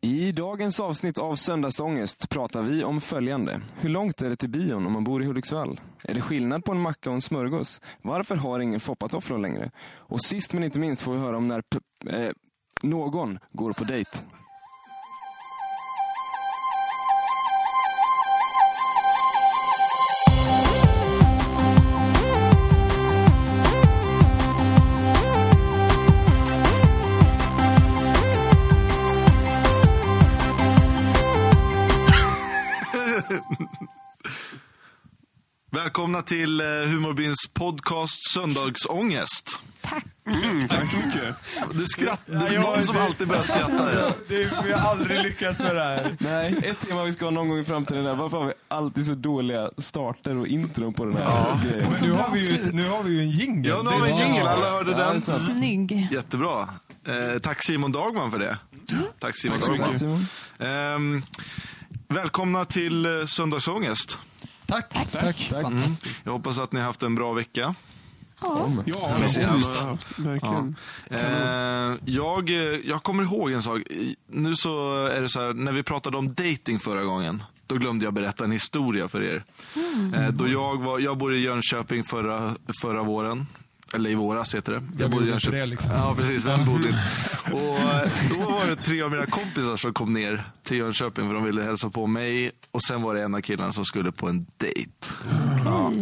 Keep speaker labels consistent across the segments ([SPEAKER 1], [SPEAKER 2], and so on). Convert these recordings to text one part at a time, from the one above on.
[SPEAKER 1] I dagens avsnitt av Söndagsångest pratar vi om följande. Hur långt är det till bion om man bor i Hudiksvall? Är det skillnad på en macka och en smörgås? Varför har ingen foppatofflor längre? Och sist men inte minst får vi höra om när p- eh, någon går på dejt.
[SPEAKER 2] Välkomna till eh, Humorbyns podcast Söndagsångest.
[SPEAKER 3] Tack så mycket.
[SPEAKER 2] Du skrattar,
[SPEAKER 3] Ja,
[SPEAKER 2] det är
[SPEAKER 3] jag-
[SPEAKER 2] någon som alltid börjar skratta. ja.
[SPEAKER 3] vi har aldrig lyckats med det här.
[SPEAKER 1] Nej, ett tema vi ska ha någon gång i framtiden är varför har vi alltid så dåliga starter och intron på den här grejen?
[SPEAKER 3] Men nu har vi ju, nu har vi ju en jingel.
[SPEAKER 2] Ja, nu har vi en jingel, alla hörde
[SPEAKER 1] Ja, det är
[SPEAKER 2] den.
[SPEAKER 1] sant.
[SPEAKER 4] Snygg.
[SPEAKER 2] Jättebra. Eh, tack Simon Dagman för det. Tack Simon
[SPEAKER 1] Tack så
[SPEAKER 2] Dagman.
[SPEAKER 1] mycket Simon.
[SPEAKER 2] Ehm, välkomna till eh, Söndagsångest.
[SPEAKER 3] Tack. Tack.
[SPEAKER 5] Mm.
[SPEAKER 2] Jag hoppas att ni har haft en bra vecka.
[SPEAKER 4] Ja.
[SPEAKER 3] Ja,
[SPEAKER 2] Sen senast.
[SPEAKER 3] ja, verkligen.
[SPEAKER 2] Eh, jag, eh, jag kommer ihåg en sak. I- Nu så är det så här, när vi pratade om dating förra gången, då glömde jag berätta en historia för er.
[SPEAKER 4] Mm.
[SPEAKER 2] Eh, då jag, var, jag bodde i Jönköping förra, förra våren. Eller i våras heter det.
[SPEAKER 3] Vem
[SPEAKER 2] bodde i
[SPEAKER 3] gjorde inte det, liksom?
[SPEAKER 2] Ja, precis. Vem bodde inte? Och eh, då var det tre av mina kompisar som kom ner till Jönköping för de ville hälsa på mig. Och sen var det en av killarna som skulle på en dejt.
[SPEAKER 4] Mm.
[SPEAKER 2] Ja.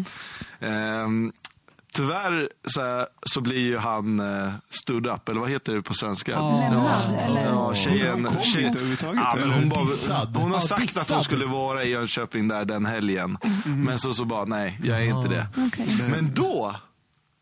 [SPEAKER 2] Ehm, tyvärr så, här, så blir ju han eh, stood up, eller vad heter det på svenska?
[SPEAKER 4] Lämnad, eller?
[SPEAKER 2] Ja, tjejen,
[SPEAKER 3] Hon kom
[SPEAKER 2] tjejen,
[SPEAKER 3] inte överhuvudtaget,
[SPEAKER 2] ja, men
[SPEAKER 3] eller?
[SPEAKER 2] hon, bara,
[SPEAKER 3] Dissad.
[SPEAKER 2] hon har
[SPEAKER 3] Ja,
[SPEAKER 2] sagt att hon
[SPEAKER 3] dissad.
[SPEAKER 2] skulle vara i Jönköping där den helgen. Men så, så bara, nej, jag är inte det.
[SPEAKER 4] Okej.
[SPEAKER 2] Men då,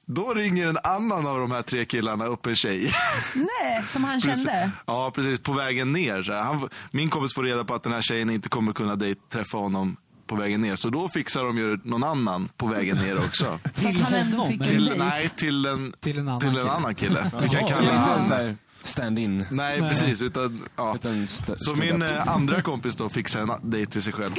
[SPEAKER 2] då ringer en annan av de här tre killarna upp en tjej.
[SPEAKER 4] Nej, som han kände.
[SPEAKER 2] Ja, precis. På vägen ner. Så här. han, min kompis får reda på att den här tjejen inte kommer kunna dejt, träffa honom på vägen ner. Så då fixar de ju någon annan på vägen ner också.
[SPEAKER 4] Så att han ändå fick en
[SPEAKER 2] till,
[SPEAKER 4] dejt.
[SPEAKER 2] nej, till en,
[SPEAKER 5] Till en annan
[SPEAKER 2] till en
[SPEAKER 5] kille.
[SPEAKER 2] annan kille. Vi kan
[SPEAKER 1] Jaha,
[SPEAKER 2] kalla
[SPEAKER 1] inte en
[SPEAKER 2] honom.
[SPEAKER 1] sån här stand-in.
[SPEAKER 2] Nej, precis. Utan, ja.
[SPEAKER 1] Utan st-
[SPEAKER 2] Så min eh, andra kompis då fixade en a- dejt till sig själv.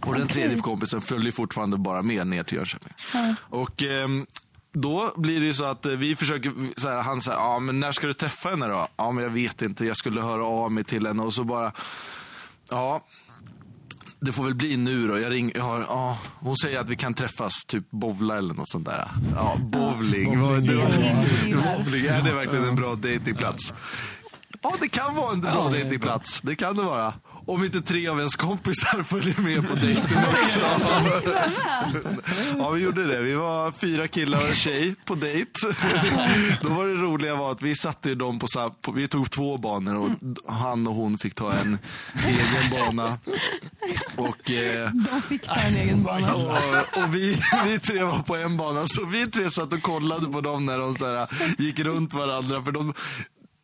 [SPEAKER 2] Och den tredje kompisen följer fortfarande bara med ner till Jönköping. Och ehm, då blir det ju så att eh, vi försöker, så här, han säger, ja men när ska du träffa henne då? Ja men jag vet inte, jag skulle höra av mig till henne och så bara, ja. Det får väl bli nu då. Jag ring, jag har, ja, hon säger att vi kan träffas, typ bowla eller något sånt där. Ja, bowling. Vad- det var- Bowling, är det verkligen en bra dejtingplats? Ja, det kan vara en bra dejtingplats. Det kan det vara. Om inte tre av ens kompisar följer med på dejten också. Ja, vi gjorde det. Vi var fyra killar och en tjej på dejt. Då var det roliga var att vi satte ju dem på, så här, på vi tog två banor och han och hon fick ta en egen bana. Och, eh,
[SPEAKER 4] De fick ta en egen bana.
[SPEAKER 2] och, och vi, vi tre var på en bana, så vi tre satt och kollade på dem när de så här, gick runt varandra. För de,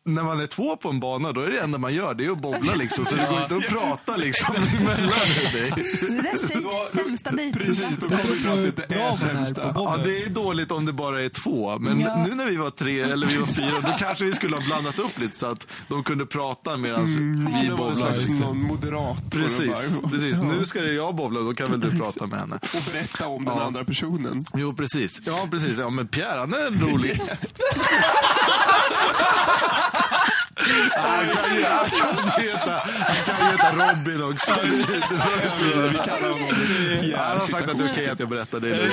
[SPEAKER 2] när man är två på en bana, då är det enda man gör, det är att bowla liksom. Så det går inte att prata liksom emellan dig.
[SPEAKER 4] Det där säg, sämsta dejten.
[SPEAKER 2] kommer vi fram till
[SPEAKER 5] det är sämsta.
[SPEAKER 2] Ja, det är dåligt om det bara är två. Men
[SPEAKER 4] Ja.
[SPEAKER 2] nu när vi var tre, eller vi var fyra, då kanske vi skulle ha blandat upp lite så att de kunde prata medan vi
[SPEAKER 3] Mm, Det var så
[SPEAKER 2] bowlade.
[SPEAKER 3] här, någon moderator
[SPEAKER 2] Precis,
[SPEAKER 3] och, bara,
[SPEAKER 2] precis. Nu ska det jag bowla, då kan väl du prata med henne.
[SPEAKER 3] och berätta om den
[SPEAKER 2] Ja.
[SPEAKER 3] andra personen.
[SPEAKER 2] Jo, precis. Ja, precis. Ja, men Pierre, han är en rolig. Han kan ju- han kan ju heta- han kan ju heta Robin också. Vi kallar honom Pierre. Han har sagt att det är okej att jag berättar det. nu.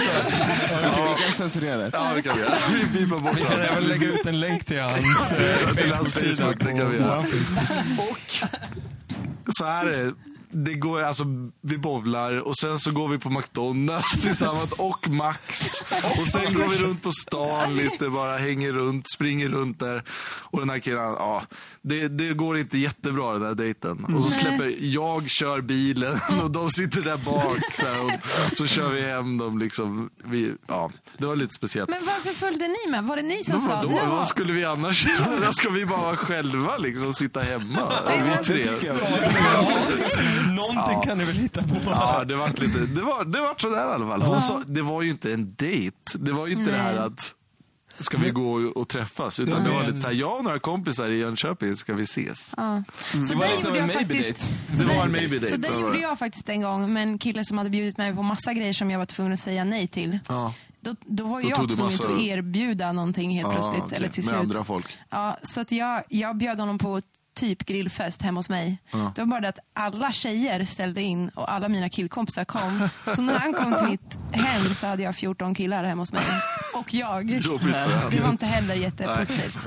[SPEAKER 1] Ja. Vi kan censurera det.
[SPEAKER 2] Ja, det kan vi göra. Vi bipar bort
[SPEAKER 5] Vi kan
[SPEAKER 2] honom.
[SPEAKER 5] även lägga ut en länk till hans eh,
[SPEAKER 2] Till hans
[SPEAKER 5] Facebook-sida.
[SPEAKER 2] Facebook, det kan vi
[SPEAKER 5] på
[SPEAKER 2] göra.
[SPEAKER 5] våran Facebook.
[SPEAKER 2] Mm. så här är det. Det går, alltså, vi bowlar och sen så går vi på McDonalds tillsammans och Max. Och sen går vi runt på stan lite bara, hänger runt, springer runt där. Och den här killen, ja, det, det går inte jättebra den här dejten. Och så släpper, jag kör bilen och de sitter där bak. Så, här, och så kör vi hem dem liksom. Vi, ja, det var lite speciellt.
[SPEAKER 4] Men varför följde ni med? Var det ni som sa
[SPEAKER 2] Vadå,
[SPEAKER 4] "Nu har-
[SPEAKER 2] vad skulle vi annars göra? Ska vi bara vara själva liksom, sitta hemma? Vi tre.
[SPEAKER 5] Någonting kan ni väl hitta på?
[SPEAKER 2] Ja, det var lite, det var, det var sådär i alla fall. Hon sa, det var ju inte en dejt. Det var ju inte det här att, ska vi gå och- och träffas? Utan det var lite såhär, jag och några kompisar i Jönköping, ska vi ses?
[SPEAKER 4] Ja. Så
[SPEAKER 1] var
[SPEAKER 4] där
[SPEAKER 1] lite av
[SPEAKER 4] gjorde
[SPEAKER 1] en
[SPEAKER 4] jag
[SPEAKER 1] maybe
[SPEAKER 4] faktiskt...
[SPEAKER 1] date.
[SPEAKER 4] Så
[SPEAKER 2] Det var
[SPEAKER 4] där-
[SPEAKER 2] en maybe date,
[SPEAKER 4] Så
[SPEAKER 2] det
[SPEAKER 4] det
[SPEAKER 2] var
[SPEAKER 4] gjorde
[SPEAKER 2] det.
[SPEAKER 4] jag faktiskt en gång med en kille som hade bjudit mig på massa grejer som jag var tvungen att säga nej till.
[SPEAKER 2] Ja.
[SPEAKER 4] Då, då var
[SPEAKER 2] Då
[SPEAKER 4] jag
[SPEAKER 2] tog du
[SPEAKER 4] tvungen
[SPEAKER 2] massa-
[SPEAKER 4] att erbjuda någonting helt
[SPEAKER 2] Ja,
[SPEAKER 4] plötsligt.
[SPEAKER 2] okej.
[SPEAKER 4] Eller till
[SPEAKER 2] Med
[SPEAKER 4] slut.
[SPEAKER 2] andra folk.
[SPEAKER 4] Ja, så att jag, jag bjöd honom på typ grillfest hemma hos mig. Det var bara det att alla tjejer ställde in och alla mina killkompisar kom. Så när han kom till mitt hem så hade jag 14 killar hemma hos mig. Och jag.
[SPEAKER 2] Jobbigt.
[SPEAKER 4] Det var inte heller jättepositivt.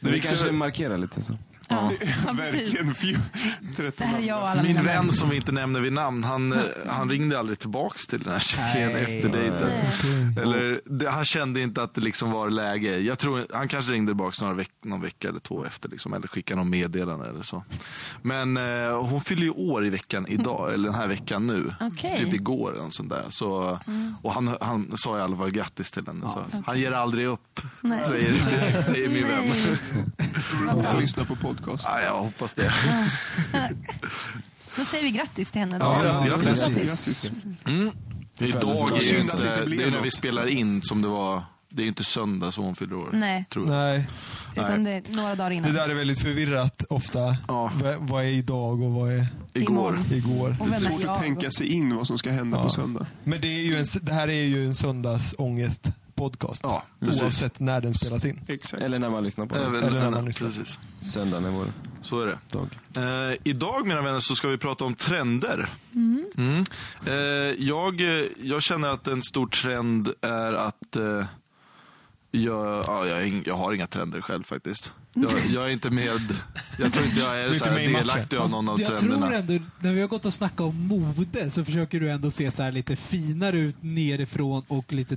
[SPEAKER 1] Du vill kanske markera lite så.
[SPEAKER 4] Ja, ja, precis.
[SPEAKER 3] Verkligen. Fy-
[SPEAKER 4] Det
[SPEAKER 3] 13
[SPEAKER 4] här är jag och alla mina
[SPEAKER 2] Min
[SPEAKER 4] vänner.
[SPEAKER 2] vän som vi inte nämner vid namn, han, eh, han ringde aldrig tillbaks till den här tjejen
[SPEAKER 6] Nej.
[SPEAKER 2] efter dejten.
[SPEAKER 4] Nej.
[SPEAKER 2] Eller, det, han kände inte att det liksom var läge. Jag tror, han kanske ringde tillbaka några veck, någon vecka eller två efter. Liksom, eller skickade någon meddelande eller så. Men eh, hon fyller ju år i veckan idag, eller den här veckan nu.
[SPEAKER 4] Okej. Mm.
[SPEAKER 2] Typ igår eller något sånt där. Så, och han, han sa i alla fall grattis till henne. Så. Han ger aldrig upp,
[SPEAKER 4] Nej.
[SPEAKER 2] säger, säger min vän.
[SPEAKER 4] Nej. Vad
[SPEAKER 3] får
[SPEAKER 4] bra.
[SPEAKER 3] lyssna på podcast.
[SPEAKER 2] Ja, jag hoppas det.
[SPEAKER 4] Då säger vi grattis till henne. Då.
[SPEAKER 2] Ja, ja,
[SPEAKER 1] precis.
[SPEAKER 3] Grattis.
[SPEAKER 2] Mm. Idag är ju
[SPEAKER 3] Synd att det
[SPEAKER 2] inte,
[SPEAKER 3] inte blev
[SPEAKER 2] det är när vi
[SPEAKER 3] något.
[SPEAKER 2] spelar in som det var, det är inte söndag som hon fyller år.
[SPEAKER 4] Nej,
[SPEAKER 2] Tror jag.
[SPEAKER 5] Nej,
[SPEAKER 4] utan det är några dagar
[SPEAKER 5] det
[SPEAKER 4] innan.
[SPEAKER 5] där är väldigt förvirrat ofta.
[SPEAKER 2] Ja.
[SPEAKER 5] V- vad är idag och vad är
[SPEAKER 2] Igår.
[SPEAKER 4] Imorgon.
[SPEAKER 5] igår?
[SPEAKER 4] Och vem
[SPEAKER 3] Det är
[SPEAKER 4] är
[SPEAKER 3] svårt att tänka
[SPEAKER 4] jag?
[SPEAKER 3] sig in vad som ska hända
[SPEAKER 5] Ja.
[SPEAKER 3] på söndag.
[SPEAKER 5] Men det, är ju en, s- det här är ju en söndagsångest podcast.
[SPEAKER 2] Ja, precis.
[SPEAKER 5] oavsett när den spelas in.
[SPEAKER 3] Exakt.
[SPEAKER 1] Eller när man lyssnar på den.
[SPEAKER 2] Även,
[SPEAKER 5] Eller när
[SPEAKER 2] även-
[SPEAKER 5] man lyssnar.
[SPEAKER 2] precis.
[SPEAKER 1] Söndagen är vår
[SPEAKER 2] Så är det.
[SPEAKER 1] dag.
[SPEAKER 2] Eh, idag mina vänner så ska vi prata om trender. Mm. Eh, jag, eh, jag känner att en stor trend är att eh, jag, ja, jag, har ing- jag har inga trender själv faktiskt. Jag, jag är inte med, jag tror inte jag är
[SPEAKER 5] inte
[SPEAKER 2] så här
[SPEAKER 5] med i matchen.
[SPEAKER 2] delaktig av någon av
[SPEAKER 6] jag
[SPEAKER 2] trenderna.
[SPEAKER 6] tror ändå, när vi har gått och snackat om mode så försöker du ändå se så här lite finare ut nerifrån och lite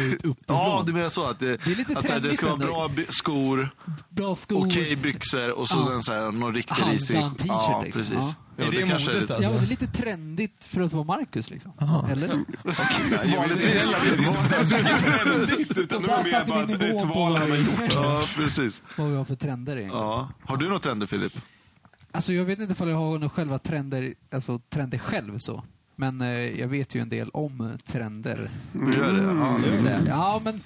[SPEAKER 6] ut uppifrån.
[SPEAKER 2] Ja, du menar så att det,
[SPEAKER 6] är lite
[SPEAKER 2] att så här, det ska vara
[SPEAKER 6] trendigt
[SPEAKER 2] bra by- skor,
[SPEAKER 6] Bra skor.
[SPEAKER 2] okej byxor och så
[SPEAKER 6] Ja.
[SPEAKER 2] den så här, någon riktig
[SPEAKER 6] Handan
[SPEAKER 2] risig...
[SPEAKER 6] t-shirt,
[SPEAKER 2] Ja,
[SPEAKER 6] liksom.
[SPEAKER 2] precis.
[SPEAKER 6] Ja.
[SPEAKER 2] Ja,
[SPEAKER 5] Är det
[SPEAKER 2] kanske
[SPEAKER 5] modet,
[SPEAKER 2] lite-
[SPEAKER 6] Ja,
[SPEAKER 3] alltså.
[SPEAKER 6] men det är lite trendigt för att vara Marcus liksom. Eller?
[SPEAKER 2] Vanligtvis-
[SPEAKER 3] Utan
[SPEAKER 6] Och
[SPEAKER 3] det
[SPEAKER 6] där
[SPEAKER 3] var mer
[SPEAKER 6] satte vi
[SPEAKER 3] bara att det är
[SPEAKER 6] nivån
[SPEAKER 3] ett
[SPEAKER 6] på
[SPEAKER 3] val han har gjort.
[SPEAKER 2] Ja, precis.
[SPEAKER 6] Vad vi har för trender egentligen.
[SPEAKER 2] Ja. Har du några trender Filip?
[SPEAKER 6] Alltså jag vet inte ifall jag har några själva trender, alltså trender själv så. Men eh, jag vet ju en del om trender.
[SPEAKER 3] Mm.
[SPEAKER 2] Du gör det? Ja.
[SPEAKER 6] Så att säga. Ja, men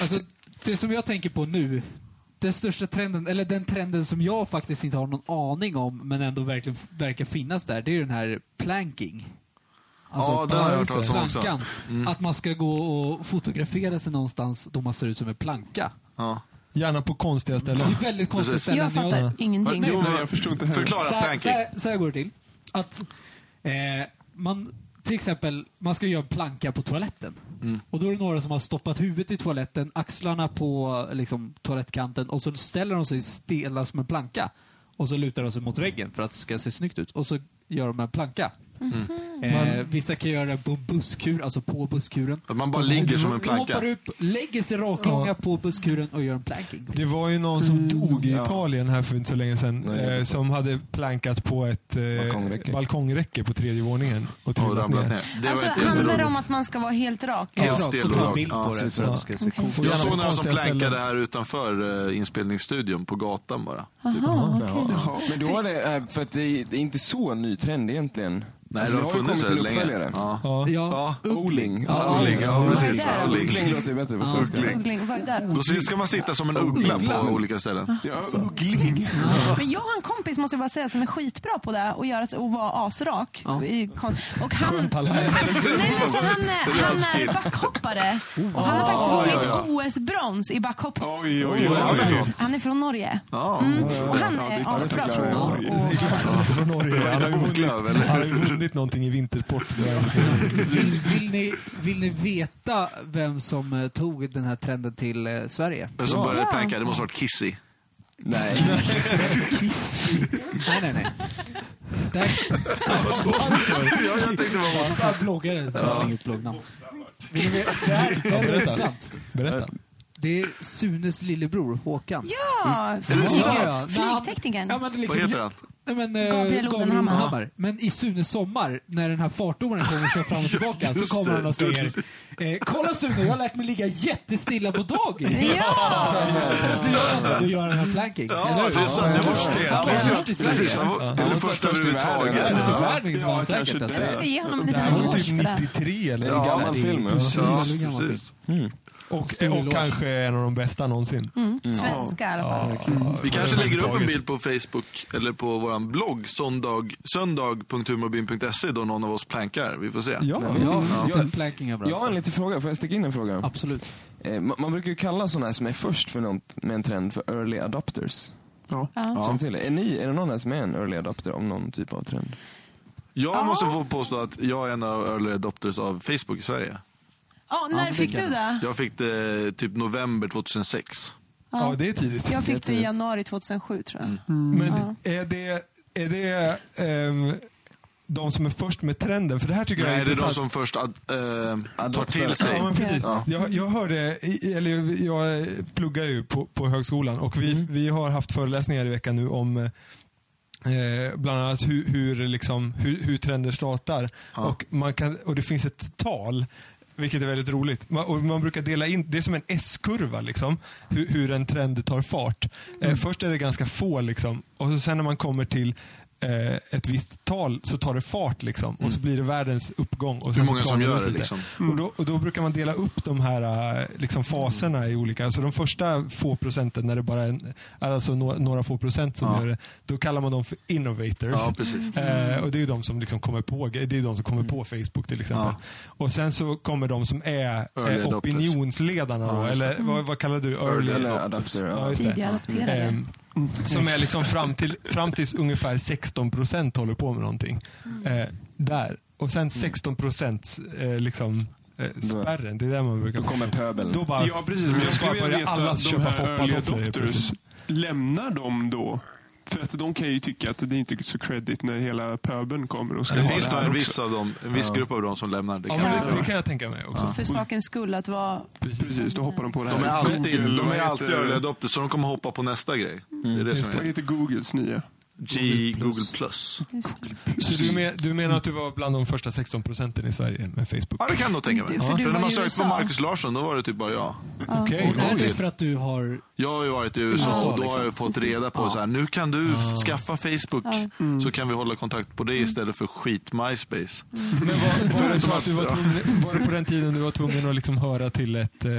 [SPEAKER 6] alltså, det som jag tänker på nu, den största trenden, eller den trenden som jag faktiskt inte har någon aning om, men ändå verkligen verkar finnas där, det är ju den här planking.
[SPEAKER 2] Ja, den har jag hört
[SPEAKER 6] just det,
[SPEAKER 2] talas om Mm.
[SPEAKER 6] plankan. Att man ska gå och fotografera sig någonstans då man ser ut som en planka.
[SPEAKER 2] Ja.
[SPEAKER 5] Gärna på konstiga
[SPEAKER 6] Det
[SPEAKER 5] ställen.
[SPEAKER 6] är väldigt konstigt
[SPEAKER 2] Precis.
[SPEAKER 6] ställe.
[SPEAKER 4] Jag fattar ingenting.
[SPEAKER 2] Jo,
[SPEAKER 3] Nej, jag förstår inte heller.
[SPEAKER 2] Förklara
[SPEAKER 6] så, här, så,
[SPEAKER 2] planking.
[SPEAKER 6] här, så här går det till. Att eh, man till exempel, man ska göra en planka på toaletten.
[SPEAKER 2] Mm.
[SPEAKER 6] Och då är det några som har stoppat huvudet i toaletten, axlarna på liksom, toalettkanten och så ställer de sig stela som en planka. Och så lutar de sig mot väggen för att det ska se snyggt ut. Och så gör de en planka.
[SPEAKER 2] Mm.
[SPEAKER 6] Eh, vissa kan göra det på en busskur, alltså på busskuren.
[SPEAKER 2] Att man bara ligger som en
[SPEAKER 6] De hoppar
[SPEAKER 2] planka.
[SPEAKER 6] upp, lägger sig raklånga på busskuren och gör en planking.
[SPEAKER 5] Det var ju någon som dog i Italien här för inte så länge sedan.
[SPEAKER 1] Nej, jag
[SPEAKER 5] eh,
[SPEAKER 1] vet
[SPEAKER 5] som hade plankat på ett eh,
[SPEAKER 1] Balkongräcke.
[SPEAKER 5] balkongräcke på tredje våningen. Och
[SPEAKER 2] Och
[SPEAKER 5] trillat
[SPEAKER 2] ramlat
[SPEAKER 5] ner.
[SPEAKER 2] ner. Det var
[SPEAKER 4] Alltså,
[SPEAKER 2] inte
[SPEAKER 4] handlar det
[SPEAKER 2] jättebra.
[SPEAKER 4] om att man ska vara helt rak?
[SPEAKER 2] Helt
[SPEAKER 6] Ja,
[SPEAKER 2] stel
[SPEAKER 6] och
[SPEAKER 2] och
[SPEAKER 6] ta en
[SPEAKER 2] rak.
[SPEAKER 6] bild
[SPEAKER 2] Ja,
[SPEAKER 6] på det för att det ska se coolt
[SPEAKER 2] Jag
[SPEAKER 5] Och gärna på
[SPEAKER 2] såg några som
[SPEAKER 5] konstiga
[SPEAKER 2] plankade
[SPEAKER 5] ställen.
[SPEAKER 2] här utanför eh, inspelningsstudion på gatan bara. Typ.
[SPEAKER 4] Jaha, okej.
[SPEAKER 1] Men då är det, eh, för att det är, det är inte så ny trend egentligen.
[SPEAKER 2] Nej,
[SPEAKER 1] Alltså,
[SPEAKER 2] det har
[SPEAKER 1] ju
[SPEAKER 2] funnits
[SPEAKER 1] kommit
[SPEAKER 2] där
[SPEAKER 1] en
[SPEAKER 2] länge.
[SPEAKER 1] uppföljare.
[SPEAKER 2] Ja.
[SPEAKER 5] Ja.
[SPEAKER 6] Ja.
[SPEAKER 2] Ja.
[SPEAKER 1] Oling.
[SPEAKER 6] Ja,
[SPEAKER 2] Uggling, ja precis.
[SPEAKER 4] Vad är det?
[SPEAKER 2] Uggling.
[SPEAKER 1] Uggling låter ju bättre på svenska.
[SPEAKER 4] Uggling, vad är det där?
[SPEAKER 2] Då så ska man sitta som en uggla på olika ställen.
[SPEAKER 3] Ja, uggling.
[SPEAKER 4] Men jag har en kompis måste jag bara säga som är skitbra på det och göra och vara asrak. Det är ju kon- Och han, nej, men för han, är- han är backhoppare. Och han har faktiskt vunnit OS-brons i backhopp.
[SPEAKER 3] Oj, oj, oj.
[SPEAKER 4] Han är från Norge. Mm.
[SPEAKER 2] Ja.
[SPEAKER 5] Mm.
[SPEAKER 4] Och han
[SPEAKER 3] Ja, det
[SPEAKER 4] är
[SPEAKER 3] kan
[SPEAKER 4] asbra
[SPEAKER 3] jag
[SPEAKER 4] på det.
[SPEAKER 3] förklara.
[SPEAKER 4] Och-
[SPEAKER 5] Det är klart att han är från Norge. Han har ju vunnit,
[SPEAKER 2] Uggla,
[SPEAKER 5] han har ju vunnit någonting i vintersport.
[SPEAKER 6] Vill, vill, ni, vill ni veta vem som eh, tog den här trenden till eh, Sverige?
[SPEAKER 2] Men som började planka, det måste ha varit Kissy.
[SPEAKER 1] Nej.
[SPEAKER 6] nej, nej, nej. Där,
[SPEAKER 2] Ja, jag tänkte bara...
[SPEAKER 6] bara bloggare så här, slänger ut bloggnamn. Vill ni veta- Det här det här är intressant.
[SPEAKER 5] Berätta.
[SPEAKER 6] Det är Sunes lillebror Håkan.
[SPEAKER 4] Ja,
[SPEAKER 6] Ja,
[SPEAKER 4] flyget.
[SPEAKER 6] men han-
[SPEAKER 4] Flygteknikern.
[SPEAKER 6] Ja, men det är
[SPEAKER 2] Vad
[SPEAKER 6] liksom,
[SPEAKER 2] heter han?
[SPEAKER 6] Nej, men, eh,
[SPEAKER 4] Gabriel Odenhammar.
[SPEAKER 6] Odenhammar. Men i Sunes sommar, när den här fartdomaren kommer och kör fram och tillbaka, så
[SPEAKER 2] Just
[SPEAKER 6] kommer
[SPEAKER 2] det.
[SPEAKER 6] han och säger eh, Kolla Sune, jag har lärt mig ligga jättestilla på dagis.
[SPEAKER 4] Ja!
[SPEAKER 6] Så gör han det, då gör han den här planking.
[SPEAKER 2] Ja, det är sant. Det var det.
[SPEAKER 6] Han var först i Sverige.
[SPEAKER 2] Precis, han var, eller först överhuvudtaget.
[SPEAKER 6] Först i världen var
[SPEAKER 3] Ja,
[SPEAKER 6] han säkert.
[SPEAKER 3] kanske
[SPEAKER 6] Alltså.
[SPEAKER 4] Jag ska ge honom
[SPEAKER 5] Det
[SPEAKER 4] en liten
[SPEAKER 5] här var typ
[SPEAKER 4] eloge för det.
[SPEAKER 5] 93 eller?
[SPEAKER 1] En gammal film. ja.
[SPEAKER 2] Ja,
[SPEAKER 6] Hur gammal är
[SPEAKER 2] precis.
[SPEAKER 1] Mm.
[SPEAKER 5] Och,
[SPEAKER 6] Stor
[SPEAKER 5] och
[SPEAKER 6] eloge.
[SPEAKER 5] kanske en av de bästa någonsin.
[SPEAKER 4] Mm. Svenska i alla fall.
[SPEAKER 2] Vi kanske lägger upp en bild på Facebook eller på vår blogg söndag, söndag.humorbyn.se då någon av oss plankar. Vi får se.
[SPEAKER 5] Ja.
[SPEAKER 6] Ja,
[SPEAKER 1] Ja.
[SPEAKER 6] liten planking är bra.
[SPEAKER 1] Jag har en
[SPEAKER 6] alltså.
[SPEAKER 1] liten fråga, får jag sticka in en fråga?
[SPEAKER 6] Absolut.
[SPEAKER 1] Eh, ma- Man brukar ju kalla sådana här som är först för något med en trend för early adopters.
[SPEAKER 3] Ja.
[SPEAKER 4] Ja.
[SPEAKER 2] Ja.
[SPEAKER 1] Känner till det. Är, ni, är det någon här som är en early adopter av någon typ av trend?
[SPEAKER 2] Jag
[SPEAKER 4] Ja.
[SPEAKER 2] måste få påstå att jag är en av early adopters av Facebook i Sverige.
[SPEAKER 4] Ja, när
[SPEAKER 6] det
[SPEAKER 4] fick
[SPEAKER 6] kan
[SPEAKER 4] du
[SPEAKER 6] jag.
[SPEAKER 4] det?
[SPEAKER 2] Jag fick det typ november 2006.
[SPEAKER 5] Ja, det är tidigt.
[SPEAKER 4] Jag fick det i januari 2007 tror jag.
[SPEAKER 5] Men är det, är det ehm, de som är först med trenden? För det här tycker jag
[SPEAKER 2] Nej, det är
[SPEAKER 5] är
[SPEAKER 2] de
[SPEAKER 5] intressant.
[SPEAKER 2] som först ad, eh, tar
[SPEAKER 1] Adopter.
[SPEAKER 2] till sig.
[SPEAKER 5] Ja, men precis.
[SPEAKER 2] Ja.
[SPEAKER 5] Jag, jag hörde, i- eller jag pluggar ju på, på högskolan och vi, vi har haft föreläsningar i veckan nu om eh, bland annat hur, hur, liksom, hur, hur trender startar.
[SPEAKER 2] Ja.
[SPEAKER 5] Och, man kan, och det finns ett tal, vilket är väldigt roligt. Man, och man brukar dela in, det är som en S-kurva, liksom, hur, hur en trend tar fart.
[SPEAKER 2] Mm.
[SPEAKER 5] Eh, först är det ganska få, liksom, och så sen när man kommer till eh, ett visst tal så tar det fart liksom. och så blir det världens uppgång. Och sen
[SPEAKER 2] Mm. Hur
[SPEAKER 5] så
[SPEAKER 2] många som
[SPEAKER 5] planar
[SPEAKER 2] gör
[SPEAKER 5] ut
[SPEAKER 2] det
[SPEAKER 5] lite.
[SPEAKER 2] liksom. Mm.
[SPEAKER 5] Och då, och då brukar man dela upp de här eh, liksom faserna i olika, alltså de första få procenten när det bara är en, alltså några, några få procent som
[SPEAKER 2] Ja.
[SPEAKER 5] gör det, då kallar man dem för innovators.
[SPEAKER 2] Ja, precis.
[SPEAKER 3] Mm.
[SPEAKER 5] Eh, och Det är ju de som liksom kommer på det är ju de som kommer på Facebook till exempel.
[SPEAKER 2] Ja.
[SPEAKER 5] Och Sen så kommer de som är
[SPEAKER 2] Early
[SPEAKER 5] eh,
[SPEAKER 2] adopters.
[SPEAKER 5] opinionsledarna. då,
[SPEAKER 2] Ja, just det.
[SPEAKER 5] eller vad, vad kallar du? Early,
[SPEAKER 1] Eller adopter.
[SPEAKER 5] Ja,
[SPEAKER 1] Ja.
[SPEAKER 5] just det.
[SPEAKER 4] Tidiga adopterade.
[SPEAKER 5] Ehm,
[SPEAKER 3] Mm.
[SPEAKER 5] som är liksom fram till fram tills ungefär 16 procent håller på med någonting.
[SPEAKER 4] Mm.
[SPEAKER 5] Eh, där. Och sen
[SPEAKER 3] Mm.
[SPEAKER 5] 16 procents eh, liksom, eh, spärren, det är där man brukar...
[SPEAKER 1] Då kommer pöbeln.
[SPEAKER 5] Då bara,
[SPEAKER 3] Ja, precis. Men
[SPEAKER 5] då
[SPEAKER 3] jag skulle
[SPEAKER 5] bara
[SPEAKER 3] vilja
[SPEAKER 5] börjar
[SPEAKER 3] veta,
[SPEAKER 5] alla
[SPEAKER 3] de
[SPEAKER 5] köpa
[SPEAKER 3] här early
[SPEAKER 5] foppatofflor helt
[SPEAKER 3] adopters,
[SPEAKER 5] plötsligt. liksom.
[SPEAKER 3] lämnar de då? För att de kan ju tycka att det inte är så credit när hela pöbeln kommer och ska
[SPEAKER 2] Det
[SPEAKER 3] vara
[SPEAKER 2] finns
[SPEAKER 3] där
[SPEAKER 2] nog en
[SPEAKER 3] också.
[SPEAKER 2] viss, av dem, en viss grupp av dem som lämnar. Det
[SPEAKER 5] Ja,
[SPEAKER 2] kan
[SPEAKER 5] men
[SPEAKER 2] det,
[SPEAKER 5] det, det kan jag tänka mig också.
[SPEAKER 4] För sakens skull att vara...
[SPEAKER 3] Precis, då hoppar de på det här.
[SPEAKER 2] de är alltid, de
[SPEAKER 3] Google, vad
[SPEAKER 2] är
[SPEAKER 3] heter-
[SPEAKER 2] alltid early adopters, så de kommer hoppa på nästa grej. Det är det som
[SPEAKER 3] Vad
[SPEAKER 2] är
[SPEAKER 3] heter Googles nya?
[SPEAKER 2] G, Google Plus.
[SPEAKER 4] Just, det.
[SPEAKER 5] Så du, men, du menar att du var bland de första 16 procenten i Sverige med Facebook?
[SPEAKER 2] Ja, det kan jag nog tänka mig.
[SPEAKER 4] Du, för du
[SPEAKER 2] när
[SPEAKER 4] var
[SPEAKER 2] man
[SPEAKER 4] i
[SPEAKER 2] sökte på
[SPEAKER 4] USA.
[SPEAKER 2] Marcus Larsson, då var det typ bara jag.
[SPEAKER 5] Okej.
[SPEAKER 6] Och är det
[SPEAKER 2] Oj.
[SPEAKER 6] för att du har...
[SPEAKER 2] Jag har ju varit i USA
[SPEAKER 6] USA,
[SPEAKER 2] och då har jag fått reda på så här, nu kan du f- skaffa Facebook så kan vi hålla kontakt på det istället för skit MySpace.
[SPEAKER 5] Men var, var det så att du var tvungen, var det på den tiden du var tvungen att liksom höra till ett eh,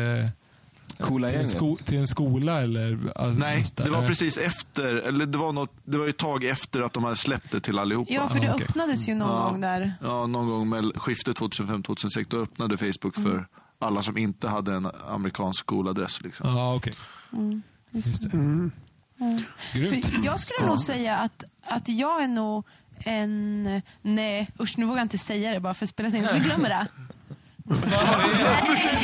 [SPEAKER 1] Coola
[SPEAKER 5] till en,
[SPEAKER 1] gänget.
[SPEAKER 5] sko, till en skola eller? Alltså,
[SPEAKER 2] Nej,
[SPEAKER 5] just
[SPEAKER 2] det var
[SPEAKER 5] eh,
[SPEAKER 2] precis efter, eller det var, något, det var ju ett tag efter att de hade släppt det till allihopa.
[SPEAKER 4] Ja, för det
[SPEAKER 5] Ah, okej.
[SPEAKER 4] öppnades ju någon
[SPEAKER 2] Ja.
[SPEAKER 4] gång där.
[SPEAKER 2] Ja, någon gång med skiftet 2005-2006 då öppnade Facebook
[SPEAKER 4] Mm.
[SPEAKER 2] för alla som inte hade en amerikansk skoladress. Liksom.
[SPEAKER 5] Ja, okej. Mm, Just det. Grymt.
[SPEAKER 4] För jag skulle nog säga att, att jag är nog en... Nej, usch nu vågar jag inte säga det bara för att spela in, så vi glömmer det. Nej, jag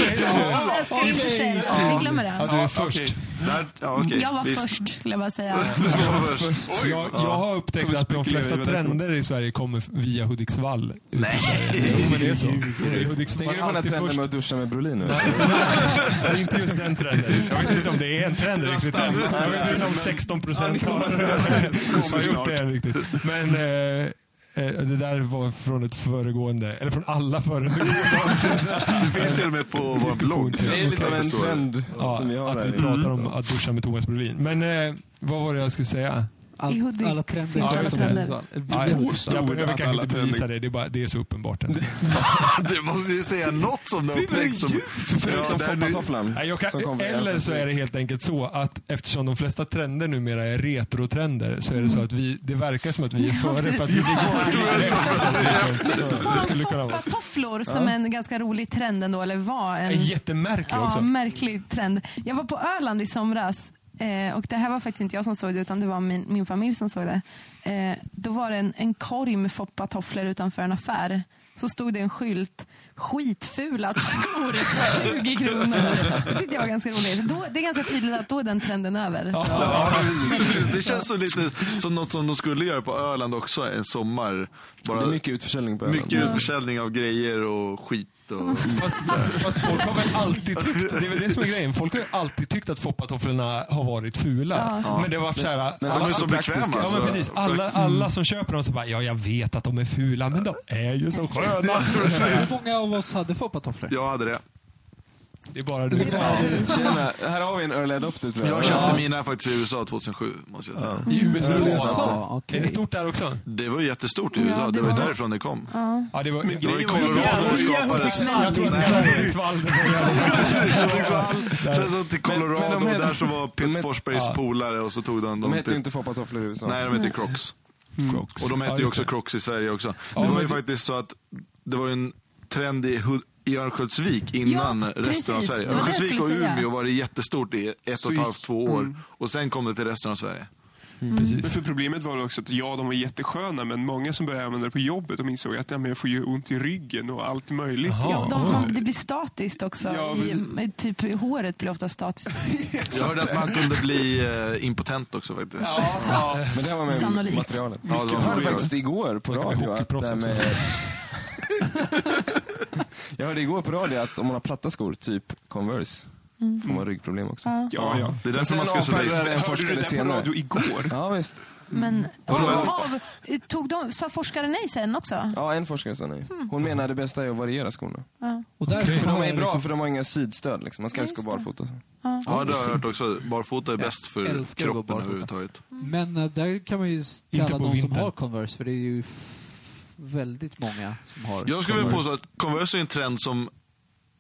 [SPEAKER 4] ska inte säga det. Vi glömmer
[SPEAKER 5] Ja,
[SPEAKER 4] det.
[SPEAKER 5] du är först.
[SPEAKER 2] Där, ja, okej.
[SPEAKER 4] Jag var
[SPEAKER 2] Visst.
[SPEAKER 4] först skulle jag bara säga.
[SPEAKER 2] Det var först. Oj.
[SPEAKER 5] Jag, jag har
[SPEAKER 3] Kan vi
[SPEAKER 5] upptäckt att de
[SPEAKER 3] spekulera i
[SPEAKER 5] flesta
[SPEAKER 3] vad det är för
[SPEAKER 5] trender i Sverige kommer via Hudiksvall. ut i
[SPEAKER 2] Nej.
[SPEAKER 5] Sverige. Jo, men det är så. Det är Hudiksvall
[SPEAKER 1] Tänker du på den här
[SPEAKER 5] alltid
[SPEAKER 1] trenden
[SPEAKER 5] först.
[SPEAKER 1] med att duscha med Brolin nu?
[SPEAKER 5] Det är inte just den trenden. Jag vet inte om det är en trend riktigt. än. Jag vet inte om 16 procent har, har gjort det än riktigt. Men eh, eh, det där var från ett föregående, eller från alla föregående
[SPEAKER 2] Det finns till och med på vår blogg.
[SPEAKER 5] diskussioner.
[SPEAKER 1] Det är lite av en
[SPEAKER 2] Förstår.
[SPEAKER 1] trend
[SPEAKER 5] Ja,
[SPEAKER 1] som vi har
[SPEAKER 5] att vi
[SPEAKER 1] här.
[SPEAKER 5] pratar om att duscha med Thomas Brolin. Men eh, vad var det jag skulle säga?
[SPEAKER 4] I
[SPEAKER 6] Allt,
[SPEAKER 4] Hudik
[SPEAKER 6] alla trender.
[SPEAKER 4] finns
[SPEAKER 5] alla
[SPEAKER 6] Hudiksvall.
[SPEAKER 4] trender.
[SPEAKER 5] Ja, jag, jag
[SPEAKER 3] att
[SPEAKER 5] behöver kanske
[SPEAKER 3] alla
[SPEAKER 5] inte bevisa det, det är, bara, det är så uppenbart. ändå.
[SPEAKER 2] Du måste ju säga något som du har upptäckt. Som,
[SPEAKER 1] Förutom
[SPEAKER 2] Ja, där nu-
[SPEAKER 1] foppatofflan.
[SPEAKER 5] Nej, jag
[SPEAKER 1] som
[SPEAKER 5] kan,
[SPEAKER 1] kommer.
[SPEAKER 5] eller så är det helt enkelt så att eftersom de flesta trender numera är retrotrender så är det så att vi, det verkar som att vi är före för att vi ligger lite efter.
[SPEAKER 4] På
[SPEAKER 5] liksom. Det
[SPEAKER 4] tal om
[SPEAKER 5] skulle kunna vara så.
[SPEAKER 4] foppatofflor som en ganska rolig trend ändå, eller var
[SPEAKER 5] En
[SPEAKER 4] en
[SPEAKER 5] jättemärklig
[SPEAKER 4] ja,
[SPEAKER 5] också.
[SPEAKER 4] märklig trend. Jag var på Öland i somras eh, och det här var faktiskt inte jag som såg det utan det var min, min familj som såg det. Eh, då var det en, en korg med foppatofflor utanför en affär. Så stod det en skylt, skitfula skor, 20 kronor. Det tyckte jag var ganska roligt. Då, det är ganska tydligt att då är den trenden över.
[SPEAKER 2] Ja, precis. Det känns så lite som något som de skulle göra på Öland också en sommar.
[SPEAKER 1] Det är
[SPEAKER 2] Bara
[SPEAKER 1] mycket utförsäljning på Öland.
[SPEAKER 2] mycket utförsäljning av grejer och skit. Och...
[SPEAKER 5] Fast, fast folk har väl alltid tyckt, det är väl det som är grejen, folk har ju alltid tyckt att foppatofflorna har varit fula. Men det har varit såhär,
[SPEAKER 1] Men
[SPEAKER 2] De
[SPEAKER 5] alla-
[SPEAKER 2] är så alltså
[SPEAKER 1] praktiska.
[SPEAKER 2] bekväma.
[SPEAKER 5] Ja men
[SPEAKER 2] så-
[SPEAKER 5] precis. Alla, alla som köper dem så bara, ja jag vet att de är fula men de är ju så sköna.
[SPEAKER 6] Hur många av oss hade foppatofflor?
[SPEAKER 2] Jag hade det.
[SPEAKER 5] Det är bara du.
[SPEAKER 1] Tjena, här har vi en early adopter tror jag.
[SPEAKER 2] Jag köpte mina faktiskt i USA 2007. Måste jag säga.
[SPEAKER 5] I USA?
[SPEAKER 6] Ja, okej.
[SPEAKER 5] Är det stort där också?
[SPEAKER 2] Det var ju jättestort i USA.
[SPEAKER 4] Ja,
[SPEAKER 2] det,
[SPEAKER 4] det
[SPEAKER 2] var ju
[SPEAKER 4] var-
[SPEAKER 2] därifrån det kom.
[SPEAKER 5] Ja, det var,
[SPEAKER 2] Det var i Colorado det skapades.
[SPEAKER 5] Jag tror att det är Hudiksvall.
[SPEAKER 2] Precis, Hudiksvall. Sen så till
[SPEAKER 1] Men- men
[SPEAKER 2] Colorado
[SPEAKER 1] de
[SPEAKER 2] och
[SPEAKER 1] heter-
[SPEAKER 2] där så var
[SPEAKER 1] de
[SPEAKER 2] Pitt
[SPEAKER 1] heter-
[SPEAKER 2] Forsbergs
[SPEAKER 5] ja.
[SPEAKER 2] polare och så tog de
[SPEAKER 1] De
[SPEAKER 2] dem
[SPEAKER 1] heter ju
[SPEAKER 2] till...
[SPEAKER 1] inte foppatofflor i USA.
[SPEAKER 2] Nej, de heter Crocs.
[SPEAKER 5] Crocs.
[SPEAKER 2] Mm. Och de
[SPEAKER 5] Ja,
[SPEAKER 2] hette ju
[SPEAKER 5] just
[SPEAKER 2] också
[SPEAKER 5] det.
[SPEAKER 2] Crocs i Sverige också.
[SPEAKER 5] Ja,
[SPEAKER 2] det var
[SPEAKER 5] men
[SPEAKER 2] ju
[SPEAKER 5] det-
[SPEAKER 2] faktiskt så att det var ju en trend i, Hu- i Örnsköldsvik innan
[SPEAKER 4] Ja,
[SPEAKER 2] resten av
[SPEAKER 4] precis.
[SPEAKER 2] Sverige.
[SPEAKER 4] Det var det jag
[SPEAKER 2] Örnsköldsvik och
[SPEAKER 4] skulle säga.
[SPEAKER 2] Umeå var det jättestort i ett och ett halvt, två år. Och sen kom det till resten av Sverige.
[SPEAKER 3] Men
[SPEAKER 5] Precis.
[SPEAKER 3] för problemet var också att ja, de var jättesköna, men många som började använda det på jobbet de insåg att ja, men jag får ju ont i ryggen och allt möjligt.
[SPEAKER 5] Jaha.
[SPEAKER 4] Ja, de
[SPEAKER 5] oj.
[SPEAKER 4] som, det blir statiskt också.
[SPEAKER 3] Ja,
[SPEAKER 4] I, typ i håret blir ofta statiskt.
[SPEAKER 2] Jag hörde att man kunde bli eh, impotent också faktiskt.
[SPEAKER 1] Men det här var med
[SPEAKER 4] Sannolikt.
[SPEAKER 1] materialet.
[SPEAKER 2] Ja, det
[SPEAKER 1] Jag
[SPEAKER 2] var
[SPEAKER 1] hörde
[SPEAKER 2] roligt.
[SPEAKER 1] faktiskt igår på
[SPEAKER 5] Man kan bli
[SPEAKER 1] radio att
[SPEAKER 5] hockeyproffs
[SPEAKER 1] det här med... Jag hörde igår på radio att om man har platta skor, typ Converse, får man ryggproblem också.
[SPEAKER 4] Mm. Ja.
[SPEAKER 3] Ja, ja.
[SPEAKER 2] Det
[SPEAKER 1] Men
[SPEAKER 2] är därför
[SPEAKER 1] sen
[SPEAKER 2] man ska sätta i
[SPEAKER 1] avfärdar
[SPEAKER 2] sig.
[SPEAKER 1] den
[SPEAKER 3] Hörde du
[SPEAKER 1] forskare
[SPEAKER 3] det där på
[SPEAKER 1] senare.
[SPEAKER 3] radio igår?
[SPEAKER 1] Ja, visst.
[SPEAKER 4] Men så
[SPEAKER 2] Vadå?
[SPEAKER 4] av, tog de, sa forskaren nej sen också?
[SPEAKER 1] Ja, en forskare sa nej. Hon menar det bästa är att variera skorna.
[SPEAKER 4] Ja.
[SPEAKER 6] Och därför
[SPEAKER 1] För de
[SPEAKER 6] har
[SPEAKER 1] är
[SPEAKER 6] jag
[SPEAKER 1] bra,
[SPEAKER 6] liksom-
[SPEAKER 1] för de har inga sidstöd. Liksom. Man ska
[SPEAKER 4] Ja,
[SPEAKER 1] helst gå
[SPEAKER 4] just det.
[SPEAKER 1] barfota.
[SPEAKER 2] Ja, det har jag hört också. Barfota är bäst
[SPEAKER 6] Jag
[SPEAKER 2] för
[SPEAKER 6] älskar att gå
[SPEAKER 2] kroppen
[SPEAKER 6] barfota.
[SPEAKER 2] överhuvudtaget.
[SPEAKER 6] Men eh, där kan man ju s-
[SPEAKER 5] Inte
[SPEAKER 6] kalla
[SPEAKER 5] på
[SPEAKER 6] de som
[SPEAKER 5] vintern.
[SPEAKER 6] har Converse, för det är ju f- väldigt många som har
[SPEAKER 2] Jag skulle vilja påstå att Converse är en trend som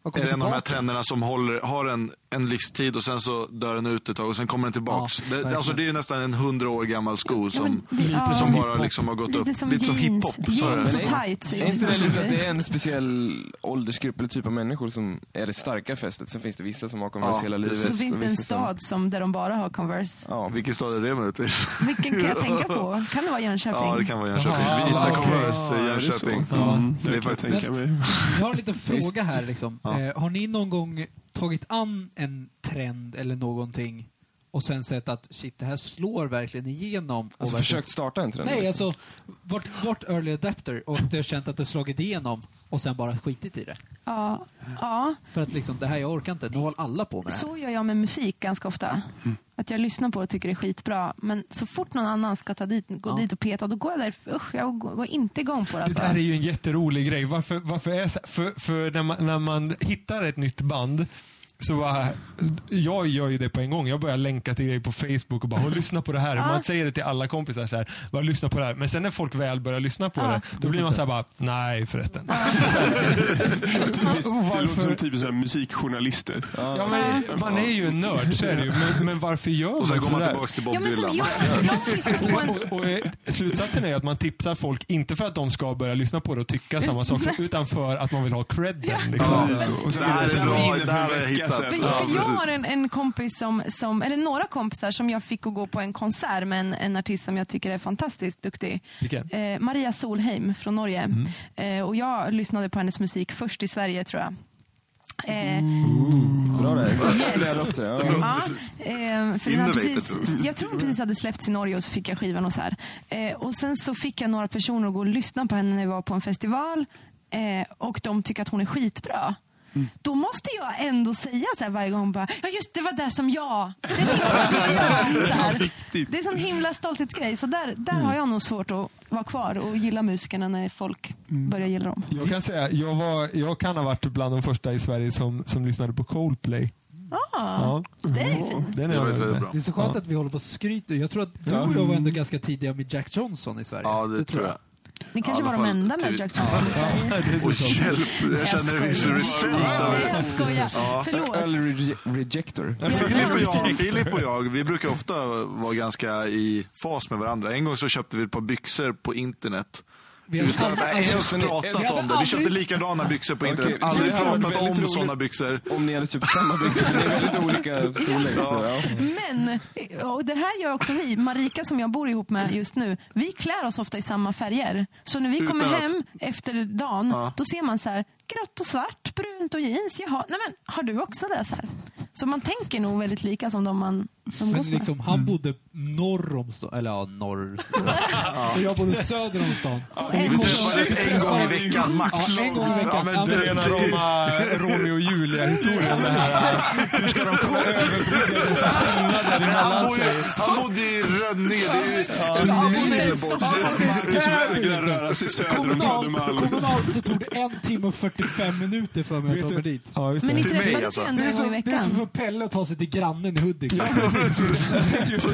[SPEAKER 6] Och
[SPEAKER 2] är
[SPEAKER 6] kommer
[SPEAKER 2] en av de här
[SPEAKER 6] tillbaka.
[SPEAKER 2] trenderna som håller, har en, en livstid och sen så dör den ut ett tag och sen kommer den tillbaks.
[SPEAKER 6] Ja,
[SPEAKER 2] det,
[SPEAKER 6] verkligen.
[SPEAKER 2] alltså det är nästan en hundra år gammal sko
[SPEAKER 4] Ja,
[SPEAKER 2] som,
[SPEAKER 4] men det- ja.
[SPEAKER 2] som bara liksom har gått
[SPEAKER 4] Lite
[SPEAKER 2] upp.
[SPEAKER 4] som
[SPEAKER 2] lite som
[SPEAKER 4] jeans.
[SPEAKER 2] hiphop. sa jag.
[SPEAKER 4] Jeans
[SPEAKER 1] Men
[SPEAKER 4] och
[SPEAKER 1] är-
[SPEAKER 4] tights.
[SPEAKER 1] Är inte det lite att det är en speciell åldersgrupp eller typ av människor som är det starka fästet? Sen finns det vissa som har Converse
[SPEAKER 2] Ja,
[SPEAKER 1] hela
[SPEAKER 2] precis.
[SPEAKER 1] livet.
[SPEAKER 4] Så finns
[SPEAKER 1] och
[SPEAKER 4] det en
[SPEAKER 1] vissa som-
[SPEAKER 4] stad som, där de bara har Converse.
[SPEAKER 1] Ja,
[SPEAKER 2] Vilken stad är det möjligtvis?
[SPEAKER 4] Vilken kan jag tänka på? Kan det vara Jönköping?
[SPEAKER 2] Ja, det kan vara Jönköping.
[SPEAKER 5] Jaha,
[SPEAKER 2] Vita
[SPEAKER 5] okej.
[SPEAKER 2] Converse
[SPEAKER 1] Ja,
[SPEAKER 2] i
[SPEAKER 1] är det så?
[SPEAKER 2] Jönköping.
[SPEAKER 3] Mm,
[SPEAKER 2] Det är
[SPEAKER 3] det kan jag
[SPEAKER 2] faktiskt-
[SPEAKER 3] tänka mig.
[SPEAKER 6] Jag har en liten fråga här. Liksom.
[SPEAKER 2] Ja.
[SPEAKER 6] Eh, har ni någon gång tagit an en trend eller någonting och sen sett att shit, det här slår verkligen igenom? och
[SPEAKER 1] Alltså
[SPEAKER 6] verkligen-
[SPEAKER 1] försökt starta en trend?
[SPEAKER 6] Nej,
[SPEAKER 1] liksom.
[SPEAKER 6] alltså vart, vart early adapter och du har känt att det slagit igenom och sen bara skitit i det.
[SPEAKER 4] Ja, ja,
[SPEAKER 6] För att liksom, det här, jag orkar inte. Nu håller alla på med det här.
[SPEAKER 4] så gör jag med musik ganska ofta. Att jag lyssnar på det och tycker det är skitbra. Men så fort någon annan ska ta dit, gå
[SPEAKER 6] Ja.
[SPEAKER 4] dit och peta, då går jag där. Usch, jag går går inte igång på det.
[SPEAKER 5] Det
[SPEAKER 4] Alltså.
[SPEAKER 5] där är ju en jätterolig grej. Varför, varför är, så- för för när, man, när man hittar ett nytt band så bara, jag gör ju det på en gång. Jag börjar länka till grejer på Facebook och bara "Åh, lyssna på det här. Man säger det till alla kompisar så här, bara lyssna på det här. Men sen när folk väl börjar lyssna på det, då blir man så här bara, nej förresten.
[SPEAKER 3] Typiskt, det låter som
[SPEAKER 5] Varför?
[SPEAKER 3] typ så här musikjournalister.
[SPEAKER 5] Ja, men, man är ju en nörd, så är det ju. Men, men varför gör man
[SPEAKER 2] Och sen går man
[SPEAKER 5] sådär?
[SPEAKER 2] tillbaks till
[SPEAKER 4] Ja,
[SPEAKER 2] Bob
[SPEAKER 4] men som
[SPEAKER 2] Dylan.
[SPEAKER 4] jag, jag lyssnar på
[SPEAKER 5] Och,
[SPEAKER 4] en
[SPEAKER 5] och, och, eh, slutsatsen är ju att man tipsar folk, inte för att de ska börja lyssna på det och tycka samma sak, utan för att man vill ha credden. Liksom.
[SPEAKER 3] Det är så. Och sen
[SPEAKER 2] Det här är
[SPEAKER 3] sen
[SPEAKER 2] bra,
[SPEAKER 3] var vi inne
[SPEAKER 2] det
[SPEAKER 3] för
[SPEAKER 2] här
[SPEAKER 3] en
[SPEAKER 2] har jag
[SPEAKER 3] vecka
[SPEAKER 2] hittat.
[SPEAKER 3] sedan.
[SPEAKER 2] Ja,
[SPEAKER 4] För, för jag
[SPEAKER 2] precis.
[SPEAKER 4] har en, en kompis som, som, eller några kompisar som jag fick att gå på en konsert med en, en artist som jag tycker är fantastiskt duktig.
[SPEAKER 5] Vilken?
[SPEAKER 4] Eh, Maria Solheim från Norge. Eh, och jag lyssnade på hennes musik först i Sverige tror jag. Eh,
[SPEAKER 1] Mm. Bra där.
[SPEAKER 4] Yes.
[SPEAKER 1] Lära upp det. Ja.
[SPEAKER 4] Ja, eh, för den har
[SPEAKER 2] Innovator,
[SPEAKER 4] precis,
[SPEAKER 2] tror jag.
[SPEAKER 4] jag tror den precis hade släppts i Norge och så fick jag skivan och så här. Eh, och sen så fick jag några personer att gå och lyssna på henne när vi var på en festival eh, och de tycker att hon är skitbra.
[SPEAKER 2] Mm.
[SPEAKER 4] Då måste jag ändå säga så här varje gång bara, ja just det var det som jag, det tipsade jag om. Så här. Det är sån himla stolthetsgrej. Så där, där
[SPEAKER 2] Mm.
[SPEAKER 4] har jag nog svårt att vara kvar och gilla musikerna när folk
[SPEAKER 2] Mm.
[SPEAKER 4] börjar gilla dem.
[SPEAKER 5] Jag kan säga, jag, var, jag kan ha varit bland de första i Sverige som, som lyssnade på Coldplay.
[SPEAKER 4] Ah,
[SPEAKER 5] Ja,
[SPEAKER 4] det är ju fint.
[SPEAKER 5] den är
[SPEAKER 2] Det
[SPEAKER 5] jag
[SPEAKER 2] var
[SPEAKER 5] nöjd
[SPEAKER 2] väldigt
[SPEAKER 5] med.
[SPEAKER 2] bra.
[SPEAKER 6] Det är så skönt att vi håller på och skryter. Jag tror att du och jag var ändå ganska tidiga med Jack Johnson i Sverige.
[SPEAKER 2] Mm. Ja, det tror jag.
[SPEAKER 4] Ni kanske
[SPEAKER 2] Ja, i alla
[SPEAKER 4] var de
[SPEAKER 2] fall
[SPEAKER 4] enda med
[SPEAKER 2] till-
[SPEAKER 4] Jack Johnson i Sverige.
[SPEAKER 2] Oj, hjälp. Jag känner en viss
[SPEAKER 4] skojar.
[SPEAKER 2] resent av
[SPEAKER 4] Nej, jag skojar. Förlåt.
[SPEAKER 1] Early rege- rejector.
[SPEAKER 2] Filip och, jag, Filip och jag, vi brukar ofta vara ganska i fas med varandra. En gång så köpte vi ett par byxor på internet.
[SPEAKER 6] Vi har
[SPEAKER 2] Utan att ens
[SPEAKER 1] Ni- Vi
[SPEAKER 2] pratat
[SPEAKER 6] hade
[SPEAKER 2] om det. Vi köpte
[SPEAKER 6] aldrig-
[SPEAKER 2] likadana byxor på internet.
[SPEAKER 1] Okej, så
[SPEAKER 2] aldrig
[SPEAKER 1] det här var
[SPEAKER 2] pratat
[SPEAKER 1] väldigt
[SPEAKER 2] om
[SPEAKER 1] roligt.
[SPEAKER 2] sådana byxor.
[SPEAKER 1] Om ni hade köpt samma byxor, för ni är väldigt olika storlek. Så, ja.
[SPEAKER 4] Men, och det här gör också vi. Marika som jag bor ihop med just nu, vi klär oss ofta i samma färger. Så när vi
[SPEAKER 2] Utan
[SPEAKER 4] kommer
[SPEAKER 2] att-
[SPEAKER 4] hem efter dagen,
[SPEAKER 2] Ja.
[SPEAKER 4] då ser man så här, grått och svart, brunt och jeans. Jaha, nej men har du också det? Så, här? så man tänker nog väldigt lika som de man
[SPEAKER 6] Men
[SPEAKER 4] umgås med.
[SPEAKER 6] liksom, han bodde norr om stan, eller ja, norr. Och jag bodde söder om stan.
[SPEAKER 4] en
[SPEAKER 2] Vi
[SPEAKER 4] gång.
[SPEAKER 2] träffades en gång i veckan max.
[SPEAKER 6] Ja, en gång i veckan.
[SPEAKER 2] Ja, men
[SPEAKER 6] Ja, men
[SPEAKER 5] Det är
[SPEAKER 2] det,
[SPEAKER 5] rena rama Romeo eh, och Julia-historien. det här. Hur ska de komma överbrygga den så här skillnaden
[SPEAKER 2] han,
[SPEAKER 5] emellan
[SPEAKER 2] bodde,
[SPEAKER 5] sig?
[SPEAKER 2] han bodde i Rönninge. Det är ju-
[SPEAKER 4] Ja,
[SPEAKER 2] Ja,
[SPEAKER 4] han
[SPEAKER 2] det är
[SPEAKER 4] bodde i
[SPEAKER 2] Lillebort.
[SPEAKER 4] Stockholm.
[SPEAKER 3] Det är så vägrar röra sig söder om
[SPEAKER 6] Kommunalt,
[SPEAKER 3] Södermalm.
[SPEAKER 6] kommunalt så tog det en timme och 45 minuter för mig att ta mig dit.
[SPEAKER 5] Ja, just
[SPEAKER 4] Men ni
[SPEAKER 5] det.
[SPEAKER 2] Till mig,
[SPEAKER 4] träffades
[SPEAKER 2] alltså.
[SPEAKER 4] ju ändå
[SPEAKER 6] Det är,
[SPEAKER 4] en gång i
[SPEAKER 6] som, det är som
[SPEAKER 4] veckan.
[SPEAKER 6] för Pelle att ta sig till grannen i Hudik.
[SPEAKER 5] Så det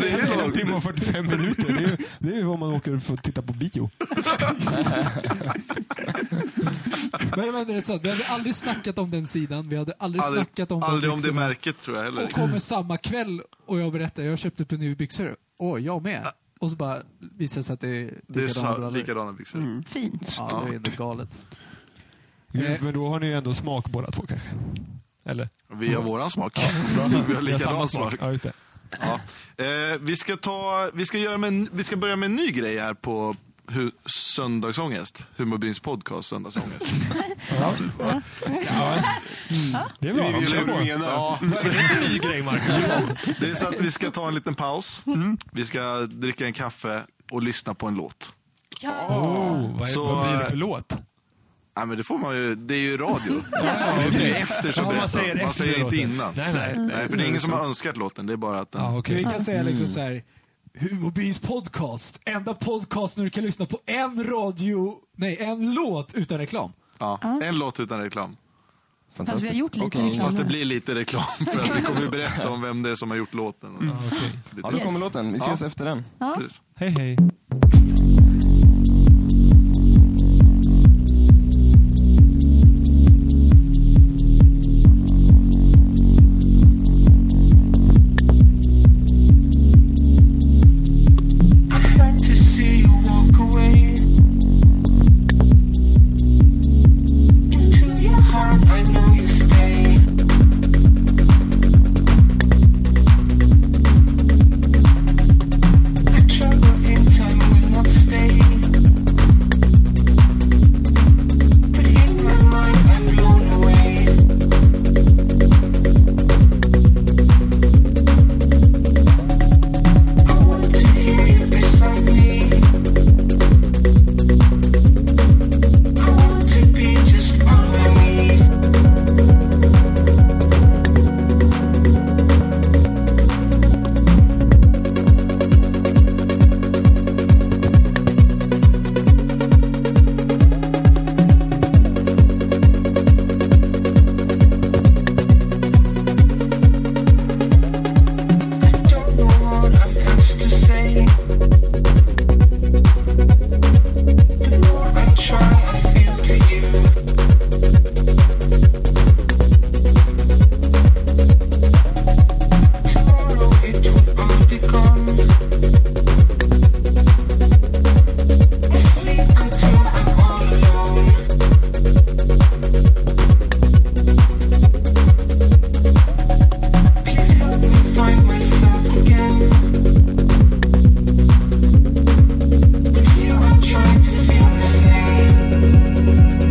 [SPEAKER 2] är
[SPEAKER 5] är en
[SPEAKER 2] långt.
[SPEAKER 5] timme och 45 minuter. Det är ju- Det är ju vad man åker för att titta på bio.
[SPEAKER 6] Men, men det är så, vi hade aldrig snackat om den sidan, vi hade aldrig,
[SPEAKER 2] Aldrig,
[SPEAKER 6] snackat om de
[SPEAKER 2] aldrig om det
[SPEAKER 6] byxorna.
[SPEAKER 2] märket tror jag heller.
[SPEAKER 6] Och kommer samma kväll och jag berättar, jag köpte ett par nya byxor. Åh, jag med. Och så bara visar det sig att det är
[SPEAKER 2] Det är sa-
[SPEAKER 6] likadana brallor.
[SPEAKER 2] likadana byxor.
[SPEAKER 4] Fint.
[SPEAKER 6] Ja, det är ändå galet.
[SPEAKER 5] Gud,
[SPEAKER 2] Eh.
[SPEAKER 5] Men då har ni ju ändå smak båda två kanske? Eller?
[SPEAKER 2] Vi har våran smak. Vi har
[SPEAKER 5] Ni har samma
[SPEAKER 2] likadan smak.
[SPEAKER 5] Ja, just det.
[SPEAKER 2] Ja. Eh, vi, ska ta, vi, ska göra med, en- vi ska börja med en ny grej här på hu, Söndagsångest. Humorbyns podcast Söndagsångest.
[SPEAKER 5] Mm. Det är bra.
[SPEAKER 3] Vi vet
[SPEAKER 5] Kör
[SPEAKER 3] vad
[SPEAKER 5] på.
[SPEAKER 3] du menar.
[SPEAKER 2] Ja,
[SPEAKER 5] Ny grej, Marcus.
[SPEAKER 2] det är så att vi ska ta en liten paus. Vi ska dricka en kaffe och lyssna på en låt.
[SPEAKER 5] Oh, vad, är,
[SPEAKER 2] Så,
[SPEAKER 5] vad blir det
[SPEAKER 2] eh,
[SPEAKER 5] för låt?
[SPEAKER 2] Nej, men det får man ju, det är ju radio. Det är efter så
[SPEAKER 5] Ja, man
[SPEAKER 2] berättar
[SPEAKER 5] säger
[SPEAKER 2] man. Man
[SPEAKER 5] efter
[SPEAKER 2] säger inte
[SPEAKER 5] låten.
[SPEAKER 2] innan.
[SPEAKER 5] Nej, nej.
[SPEAKER 2] för det är ingen som har önskat låten, det är bara att den...
[SPEAKER 5] Ja,
[SPEAKER 6] Så
[SPEAKER 5] okej.
[SPEAKER 6] vi kan säga
[SPEAKER 2] Mm.
[SPEAKER 6] liksom så här. Humorbyns podcast. Enda podcast när du kan lyssna på en radio... Nej, en låt utan reklam.
[SPEAKER 2] Ja, en låt utan reklam.
[SPEAKER 4] Fast vi har gjort lite
[SPEAKER 1] Okej.
[SPEAKER 4] reklam
[SPEAKER 2] Fast det
[SPEAKER 4] nu.
[SPEAKER 2] blir lite reklam för att vi kommer berätta om vem det är som har gjort låten. Och
[SPEAKER 1] Ja, då
[SPEAKER 4] Yes.
[SPEAKER 1] kommer låten. Vi ses
[SPEAKER 2] Ja.
[SPEAKER 1] efter den.
[SPEAKER 2] Precis.
[SPEAKER 5] Hej, hej.
[SPEAKER 7] like to see you walk away into your heart. I know you stay. I travel in time, will not stay. But in my mind, I'm blown away. I want to hear you beside me. I want to be just on my knee. I don't know what I'm supposed to say. The more I try, I feel to you. Tomorrow it will all be gone. Asleep until I'm all alone. Please help me find myself again. With you, I'm trying to feel the same.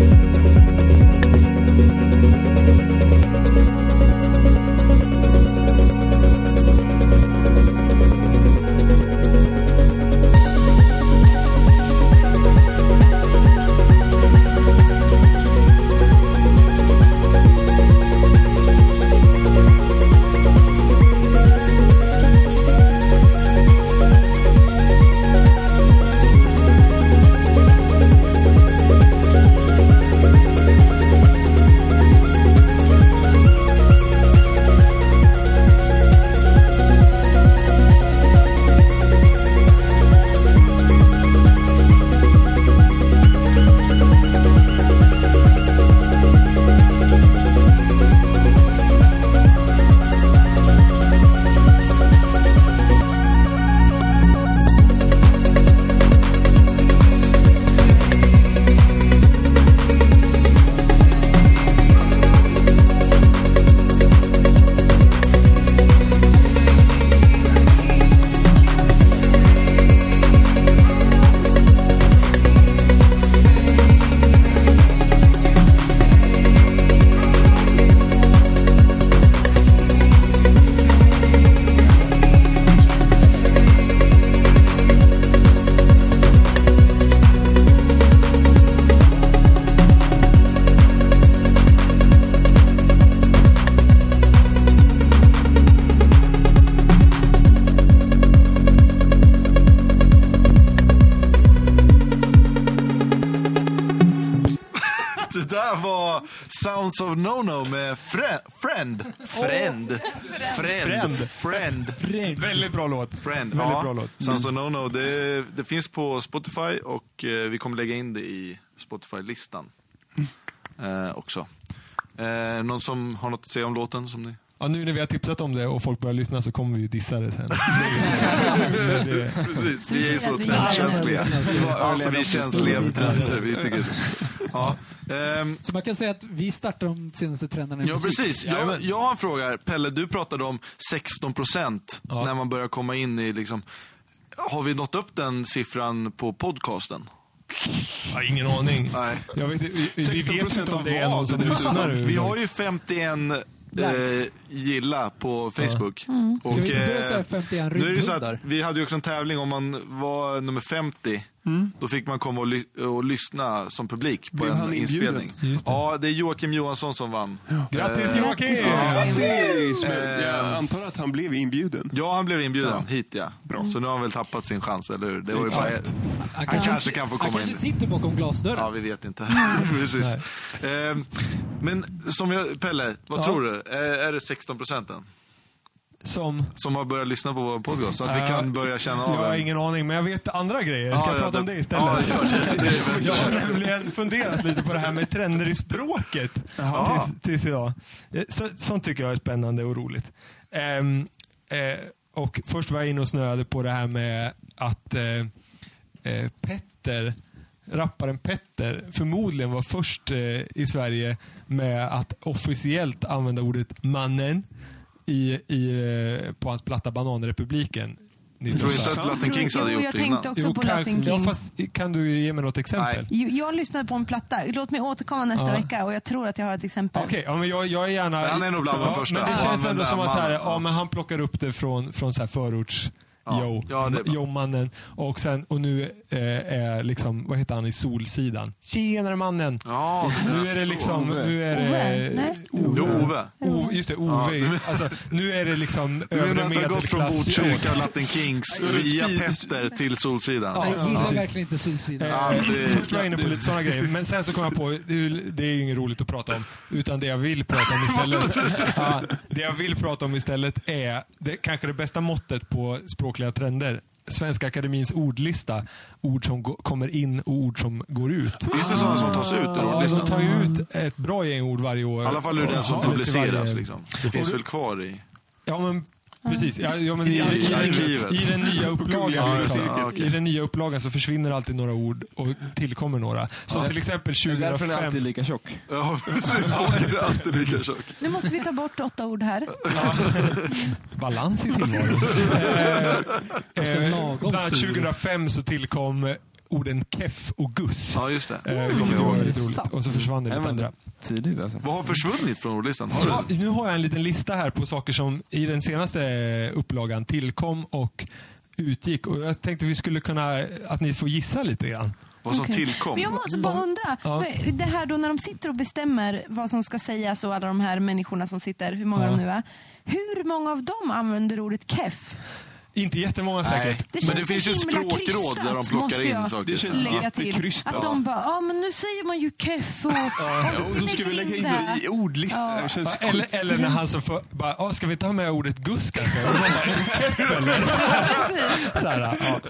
[SPEAKER 2] Det där var Sounds of No-No med Fre- Friend. Friend. Friend. Friend.
[SPEAKER 5] Väldigt bra låt.
[SPEAKER 2] Friend.
[SPEAKER 5] Väldigt
[SPEAKER 2] Ja.
[SPEAKER 5] bra låt.
[SPEAKER 2] Sounds of No-No. Det, det finns på Spotify och eh, vi kommer lägga in det i Spotify-listan eh, också. Eh, någon som har något att säga om låten? Som ni?
[SPEAKER 5] Ja, nu när vi har tipsat om det och folk börjar lyssna så kommer vi ju dissa det sen.
[SPEAKER 2] Precis,
[SPEAKER 4] Så vi
[SPEAKER 2] vi är
[SPEAKER 4] säger
[SPEAKER 2] ju så
[SPEAKER 4] att vi gillar
[SPEAKER 2] trendkänsliga.
[SPEAKER 1] Vi var
[SPEAKER 2] Alltså
[SPEAKER 1] early
[SPEAKER 2] vi är
[SPEAKER 1] adopters.
[SPEAKER 2] känsliga för trender, vi tycker det. Ja. Ehm,
[SPEAKER 6] Så man kan säga att vi startar de senaste trenderna i
[SPEAKER 2] Ja,
[SPEAKER 6] musik.
[SPEAKER 2] precis. Jag, jag har en fråga här. Pelle, du pratade om 16 procent
[SPEAKER 5] Ja.
[SPEAKER 2] när man börjar komma in i liksom... Har vi nått upp den siffran på podcasten?
[SPEAKER 5] Ja, ingen aning.
[SPEAKER 2] Nej.
[SPEAKER 5] Jag vet, vi, vi
[SPEAKER 3] 16%
[SPEAKER 5] vet inte om
[SPEAKER 3] av
[SPEAKER 5] det är
[SPEAKER 3] vad
[SPEAKER 5] någon som
[SPEAKER 3] det är.
[SPEAKER 5] lyssnar.
[SPEAKER 2] Vi har ju 51 eh,
[SPEAKER 6] Eh, Likes. Mm.
[SPEAKER 2] gilla på Facebook. Och,
[SPEAKER 6] Ska vi inte börja
[SPEAKER 2] eh,
[SPEAKER 6] säga 51
[SPEAKER 2] nu är det ju så att
[SPEAKER 6] rymdhundar?
[SPEAKER 2] vi hade ju också en tävling om man var nummer 50.
[SPEAKER 5] Mm.
[SPEAKER 2] Då fick man komma och, ly- och lyssna som publik på
[SPEAKER 3] Blev
[SPEAKER 2] en
[SPEAKER 3] han inbjuden?
[SPEAKER 2] inspelning.
[SPEAKER 5] Just det.
[SPEAKER 2] Ja, det är Joakim Johansson som vann.
[SPEAKER 5] Grattis Joakim!
[SPEAKER 4] Grattis, Joakim.
[SPEAKER 3] Grattis! Men
[SPEAKER 2] Eh.
[SPEAKER 3] jag antar att han blev inbjuden.
[SPEAKER 2] Ja, han blev inbjuden hit ja. Så nu har han väl tappat sin chans, eller hur? Det var ju
[SPEAKER 3] Exakt.
[SPEAKER 2] bara...
[SPEAKER 6] Han
[SPEAKER 2] kanske kan få komma
[SPEAKER 6] Han kanske
[SPEAKER 2] in.
[SPEAKER 6] sitter bakom
[SPEAKER 2] Ja,
[SPEAKER 6] glasdörren.
[SPEAKER 2] vi vet inte. Precis. Ehm, men som jag, Pelle, vad
[SPEAKER 5] Ja.
[SPEAKER 2] tror du? Eh, är det 16 procenten
[SPEAKER 5] Som...
[SPEAKER 2] som har börjat lyssna på vår podcast? Så att vi kan
[SPEAKER 5] Eh,
[SPEAKER 2] börja känna
[SPEAKER 5] Jag
[SPEAKER 2] av
[SPEAKER 5] har
[SPEAKER 2] en-
[SPEAKER 5] ingen aning, men jag vet andra grejer. Ska
[SPEAKER 2] Ja,
[SPEAKER 5] jag
[SPEAKER 2] ja,
[SPEAKER 5] prata om det
[SPEAKER 2] Ja,
[SPEAKER 5] istället?
[SPEAKER 2] gör det. det är väl-
[SPEAKER 5] Jag har nämligen funderat lite på det här med trender i språket
[SPEAKER 2] Jaha.
[SPEAKER 5] tills, tills idag. Eh, Så, sånt tycker jag är spännande och roligt. Ehm, eh, och Först var jag inne och snöade på det här med att eh, eh, Petter, rapparen Petter förmodligen var först eh, i Sverige med att officiellt använda ordet mannen i, i, eh, på hans platta Bananrepubliken.
[SPEAKER 2] Jag tror inte att
[SPEAKER 4] Jag
[SPEAKER 2] Latin
[SPEAKER 4] tror-
[SPEAKER 2] Kings hade
[SPEAKER 4] jo,
[SPEAKER 2] gjort
[SPEAKER 4] jag
[SPEAKER 2] det innan.
[SPEAKER 4] tänkte också på
[SPEAKER 5] kan-
[SPEAKER 4] Latin
[SPEAKER 5] Ja,
[SPEAKER 4] Kings.
[SPEAKER 5] fast, kan du ge mig något exempel?
[SPEAKER 4] Jo, Jag lyssnade på en platta. Låt mig återkomma nästa
[SPEAKER 5] Ja.
[SPEAKER 4] vecka och jag tror att jag har ett exempel.
[SPEAKER 5] Okej, ja, men jag, jag är gärna...
[SPEAKER 2] Men han är nog bland de
[SPEAKER 5] ja,
[SPEAKER 2] första.
[SPEAKER 5] Men det
[SPEAKER 2] Ja,
[SPEAKER 5] känns
[SPEAKER 2] men
[SPEAKER 5] ändå
[SPEAKER 2] där
[SPEAKER 5] som att så här,
[SPEAKER 2] mannen,
[SPEAKER 5] ja,
[SPEAKER 2] ja.
[SPEAKER 5] men han plockar upp det från, från så här förorts...
[SPEAKER 2] Ja,
[SPEAKER 5] Jo,
[SPEAKER 2] ja, det är bra.
[SPEAKER 5] jo mannen. Och, sen, och nu eh, är liksom, vad heter han i Solsidan? Tjenare mannen!
[SPEAKER 2] Ja,
[SPEAKER 5] Nu är det liksom,
[SPEAKER 1] Ove.
[SPEAKER 5] nu är
[SPEAKER 4] Ove?
[SPEAKER 5] det...
[SPEAKER 4] Nej.
[SPEAKER 2] Jo, Ove.
[SPEAKER 5] Ove, just det, Ove. Alltså, nu är det liksom
[SPEAKER 2] Du menar
[SPEAKER 5] övre
[SPEAKER 2] att det har gått från
[SPEAKER 5] medelklass.
[SPEAKER 2] Botkyrka och Latin Kings via
[SPEAKER 3] Speed-
[SPEAKER 2] Petter till Solsidan?
[SPEAKER 5] Ja.
[SPEAKER 6] Jag gillar
[SPEAKER 5] precis.
[SPEAKER 6] verkligen inte Solsidan.
[SPEAKER 5] Eh,
[SPEAKER 2] Ja, det-
[SPEAKER 5] Först var jag inne på
[SPEAKER 2] det-
[SPEAKER 5] lite sådana grejer, men sen så kom jag på, hur- det är ju inget roligt att prata om, utan det jag vill prata om istället. ja, det jag vill prata om istället är det, kanske det bästa måttet på språkliga trender. Svenska Akademins ordlista. Ord som gå- kommer in och ord som går ut.
[SPEAKER 2] Finns det sådana som tas ut ur
[SPEAKER 5] Ja, de
[SPEAKER 2] ordlistan?
[SPEAKER 5] tar ju ut ett bra gäng ord varje år.
[SPEAKER 2] I alla fall ur den som
[SPEAKER 5] Ja, eller till
[SPEAKER 2] publiceras.
[SPEAKER 5] varje-
[SPEAKER 2] Liksom. Det finns väl kvar i...
[SPEAKER 5] Ja, men precis. Ja, ja, men i, i,
[SPEAKER 2] arkivet.
[SPEAKER 5] i, den nya upplagan
[SPEAKER 2] Ja,
[SPEAKER 5] liksom.
[SPEAKER 2] ja, okej.
[SPEAKER 5] I den nya upplagan så försvinner alltid några ord och tillkommer några. Som till exempel
[SPEAKER 1] Det är därför den
[SPEAKER 5] 2005.
[SPEAKER 1] alltid är lika tjock.
[SPEAKER 2] Ja, precis. Boken är alltid lika tjock.
[SPEAKER 4] Nu måste vi ta bort åtta ord här.
[SPEAKER 5] Balans i tillvaron. Eh,
[SPEAKER 6] Alltså,
[SPEAKER 5] eh,
[SPEAKER 6] lagom
[SPEAKER 5] Bland annat
[SPEAKER 6] stor.
[SPEAKER 5] 2005 så tillkom orden keff och guss.
[SPEAKER 2] Ja, just det.
[SPEAKER 5] Eh,
[SPEAKER 2] Det kommer
[SPEAKER 5] vilket
[SPEAKER 2] jag
[SPEAKER 5] var
[SPEAKER 2] ihåg. Mm.
[SPEAKER 5] väldigt roligt. Och så försvann det
[SPEAKER 1] Nej,
[SPEAKER 5] lite
[SPEAKER 1] men-
[SPEAKER 5] andra.
[SPEAKER 1] Tidigt alltså.
[SPEAKER 2] Vad har försvunnit från ordlistan? Har
[SPEAKER 5] Ja,
[SPEAKER 2] du?
[SPEAKER 5] nu har jag en liten lista här på saker som i den senaste eh, upplagan tillkom och utgick. Och jag tänkte vi skulle kunna, att ni får gissa lite grann.
[SPEAKER 2] Vad som
[SPEAKER 4] Okej.
[SPEAKER 2] tillkom?
[SPEAKER 4] Men jag måste bara undra,
[SPEAKER 5] Ja.
[SPEAKER 4] för det här då när de sitter och bestämmer vad som ska sägas och alla de här människorna som sitter, hur många
[SPEAKER 5] Ja.
[SPEAKER 4] de nu är. Hur många av dem använder ordet keff?
[SPEAKER 5] Inte jättemånga säkert.
[SPEAKER 2] Nej.
[SPEAKER 4] känns
[SPEAKER 2] Men det
[SPEAKER 4] så
[SPEAKER 2] finns ju ett
[SPEAKER 4] himla
[SPEAKER 2] språkråd där de
[SPEAKER 4] krystat,
[SPEAKER 2] plockar
[SPEAKER 4] måste
[SPEAKER 2] in
[SPEAKER 4] jag
[SPEAKER 2] saker.
[SPEAKER 3] Det känns
[SPEAKER 4] Lägga till
[SPEAKER 3] jättekrystat.
[SPEAKER 4] att de bara, ja men nu säger man ju keff och... Ja,
[SPEAKER 3] Och då ska vi lägga in det i ordlistan. Det här känns
[SPEAKER 5] Eller,
[SPEAKER 3] sjukt.
[SPEAKER 5] eller när han som för, bara, "Ah, ska vi ta med ordet guss kanske? Och man bara, "En keff eller?" Så här, ja.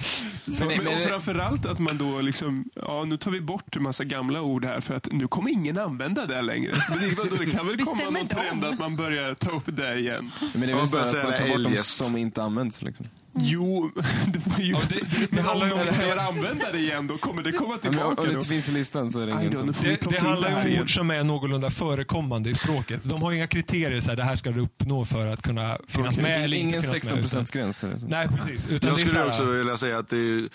[SPEAKER 5] Så-
[SPEAKER 1] Men-
[SPEAKER 3] Men och framförallt att man då liksom, ja nu tar vi bort en massa gamla ord här för att nu kommer ingen använda det här längre. Men det, vadå, det kan väl komma
[SPEAKER 4] Bestämmer
[SPEAKER 3] någon
[SPEAKER 4] inte
[SPEAKER 3] trend
[SPEAKER 4] om. Mm.
[SPEAKER 3] att man börjar ta upp det igen.
[SPEAKER 1] Men det är
[SPEAKER 2] Ja,
[SPEAKER 1] väl snarare
[SPEAKER 2] börja
[SPEAKER 1] att man
[SPEAKER 2] säga
[SPEAKER 1] tar bort de
[SPEAKER 2] eljest.
[SPEAKER 1] som inte används. Liksom.
[SPEAKER 4] Typ
[SPEAKER 3] Jo, det var ju...
[SPEAKER 5] det- det
[SPEAKER 3] men
[SPEAKER 5] handlar
[SPEAKER 3] om
[SPEAKER 5] ju om-
[SPEAKER 3] de börjar använda det igen då kommer det komma
[SPEAKER 1] Ja, men, och,
[SPEAKER 3] tillbaka.
[SPEAKER 1] och
[SPEAKER 3] då.
[SPEAKER 1] det finns i listan så är det
[SPEAKER 3] Aj
[SPEAKER 1] ingen
[SPEAKER 3] då, nu
[SPEAKER 1] som...
[SPEAKER 3] får vi
[SPEAKER 5] Det,
[SPEAKER 3] plocka
[SPEAKER 5] det
[SPEAKER 3] in
[SPEAKER 5] handlar
[SPEAKER 3] här
[SPEAKER 5] ju om
[SPEAKER 3] igen.
[SPEAKER 5] ord som är någorlunda förekommande i språket. De har ju inga kriterier, så här, det här ska du uppnå för att kunna finnas med eller
[SPEAKER 1] Ingen
[SPEAKER 5] inte finnas med.
[SPEAKER 1] 16%-gräns. är det så.
[SPEAKER 5] Nej, precis. Utan
[SPEAKER 2] Jag
[SPEAKER 5] det är så
[SPEAKER 2] skulle
[SPEAKER 5] här,
[SPEAKER 2] också vilja säga att det är,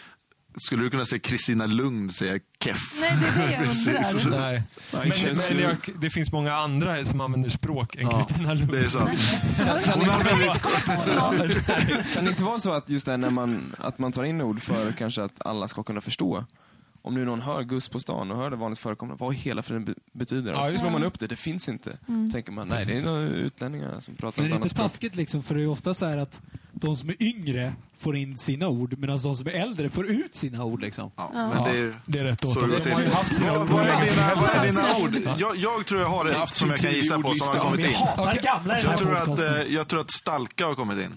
[SPEAKER 2] Skulle du kunna se Kristina Lugn säga keff?
[SPEAKER 4] Nej, det är det jag
[SPEAKER 2] Precis.
[SPEAKER 4] undrar.
[SPEAKER 5] Nej. Men,
[SPEAKER 3] känns
[SPEAKER 5] men
[SPEAKER 3] ju-
[SPEAKER 5] jag, det finns många andra som använder språk än
[SPEAKER 2] Ja,
[SPEAKER 5] Kristina
[SPEAKER 2] Det är
[SPEAKER 5] Lund.
[SPEAKER 2] sant.
[SPEAKER 4] Jag kan inte komma på någon.
[SPEAKER 1] Kan det inte vara så att just det här när man, att man tar in ord för kanske att alla ska kunna förstå? Om nu någon hör Guss på stan och hör det vanligt förekommande, vad i hela friden be- betyder det?
[SPEAKER 5] Ja,
[SPEAKER 1] Och så
[SPEAKER 5] just
[SPEAKER 1] slår
[SPEAKER 5] det.
[SPEAKER 1] man upp det, det finns inte. tänker man, nej det är några utlänningar som pratar
[SPEAKER 6] Men är
[SPEAKER 1] ett
[SPEAKER 6] det
[SPEAKER 1] annat
[SPEAKER 6] inte
[SPEAKER 1] språk.
[SPEAKER 6] taskigt liksom? För det är ju ofta så här att de som är yngre får in sina ord medan de som är äldre får ut sina ord liksom.
[SPEAKER 2] Ja, men det är,
[SPEAKER 5] Det är rätt åt
[SPEAKER 2] så det
[SPEAKER 5] dem.
[SPEAKER 2] går
[SPEAKER 5] De har ju
[SPEAKER 2] till.
[SPEAKER 5] haft sina
[SPEAKER 2] Vad
[SPEAKER 5] ord
[SPEAKER 2] vad
[SPEAKER 5] hur
[SPEAKER 2] är
[SPEAKER 5] länge som
[SPEAKER 2] dina, vad
[SPEAKER 5] helst.
[SPEAKER 2] är dina ord? Jag, jag tror jag har ett som jag kan gissa på som har kommit in.
[SPEAKER 6] Hatar
[SPEAKER 5] Okej.
[SPEAKER 6] gamla i den
[SPEAKER 2] Jag
[SPEAKER 6] här
[SPEAKER 2] tror att,
[SPEAKER 6] podcasten.
[SPEAKER 2] eh, jag tror att stalka har kommit in.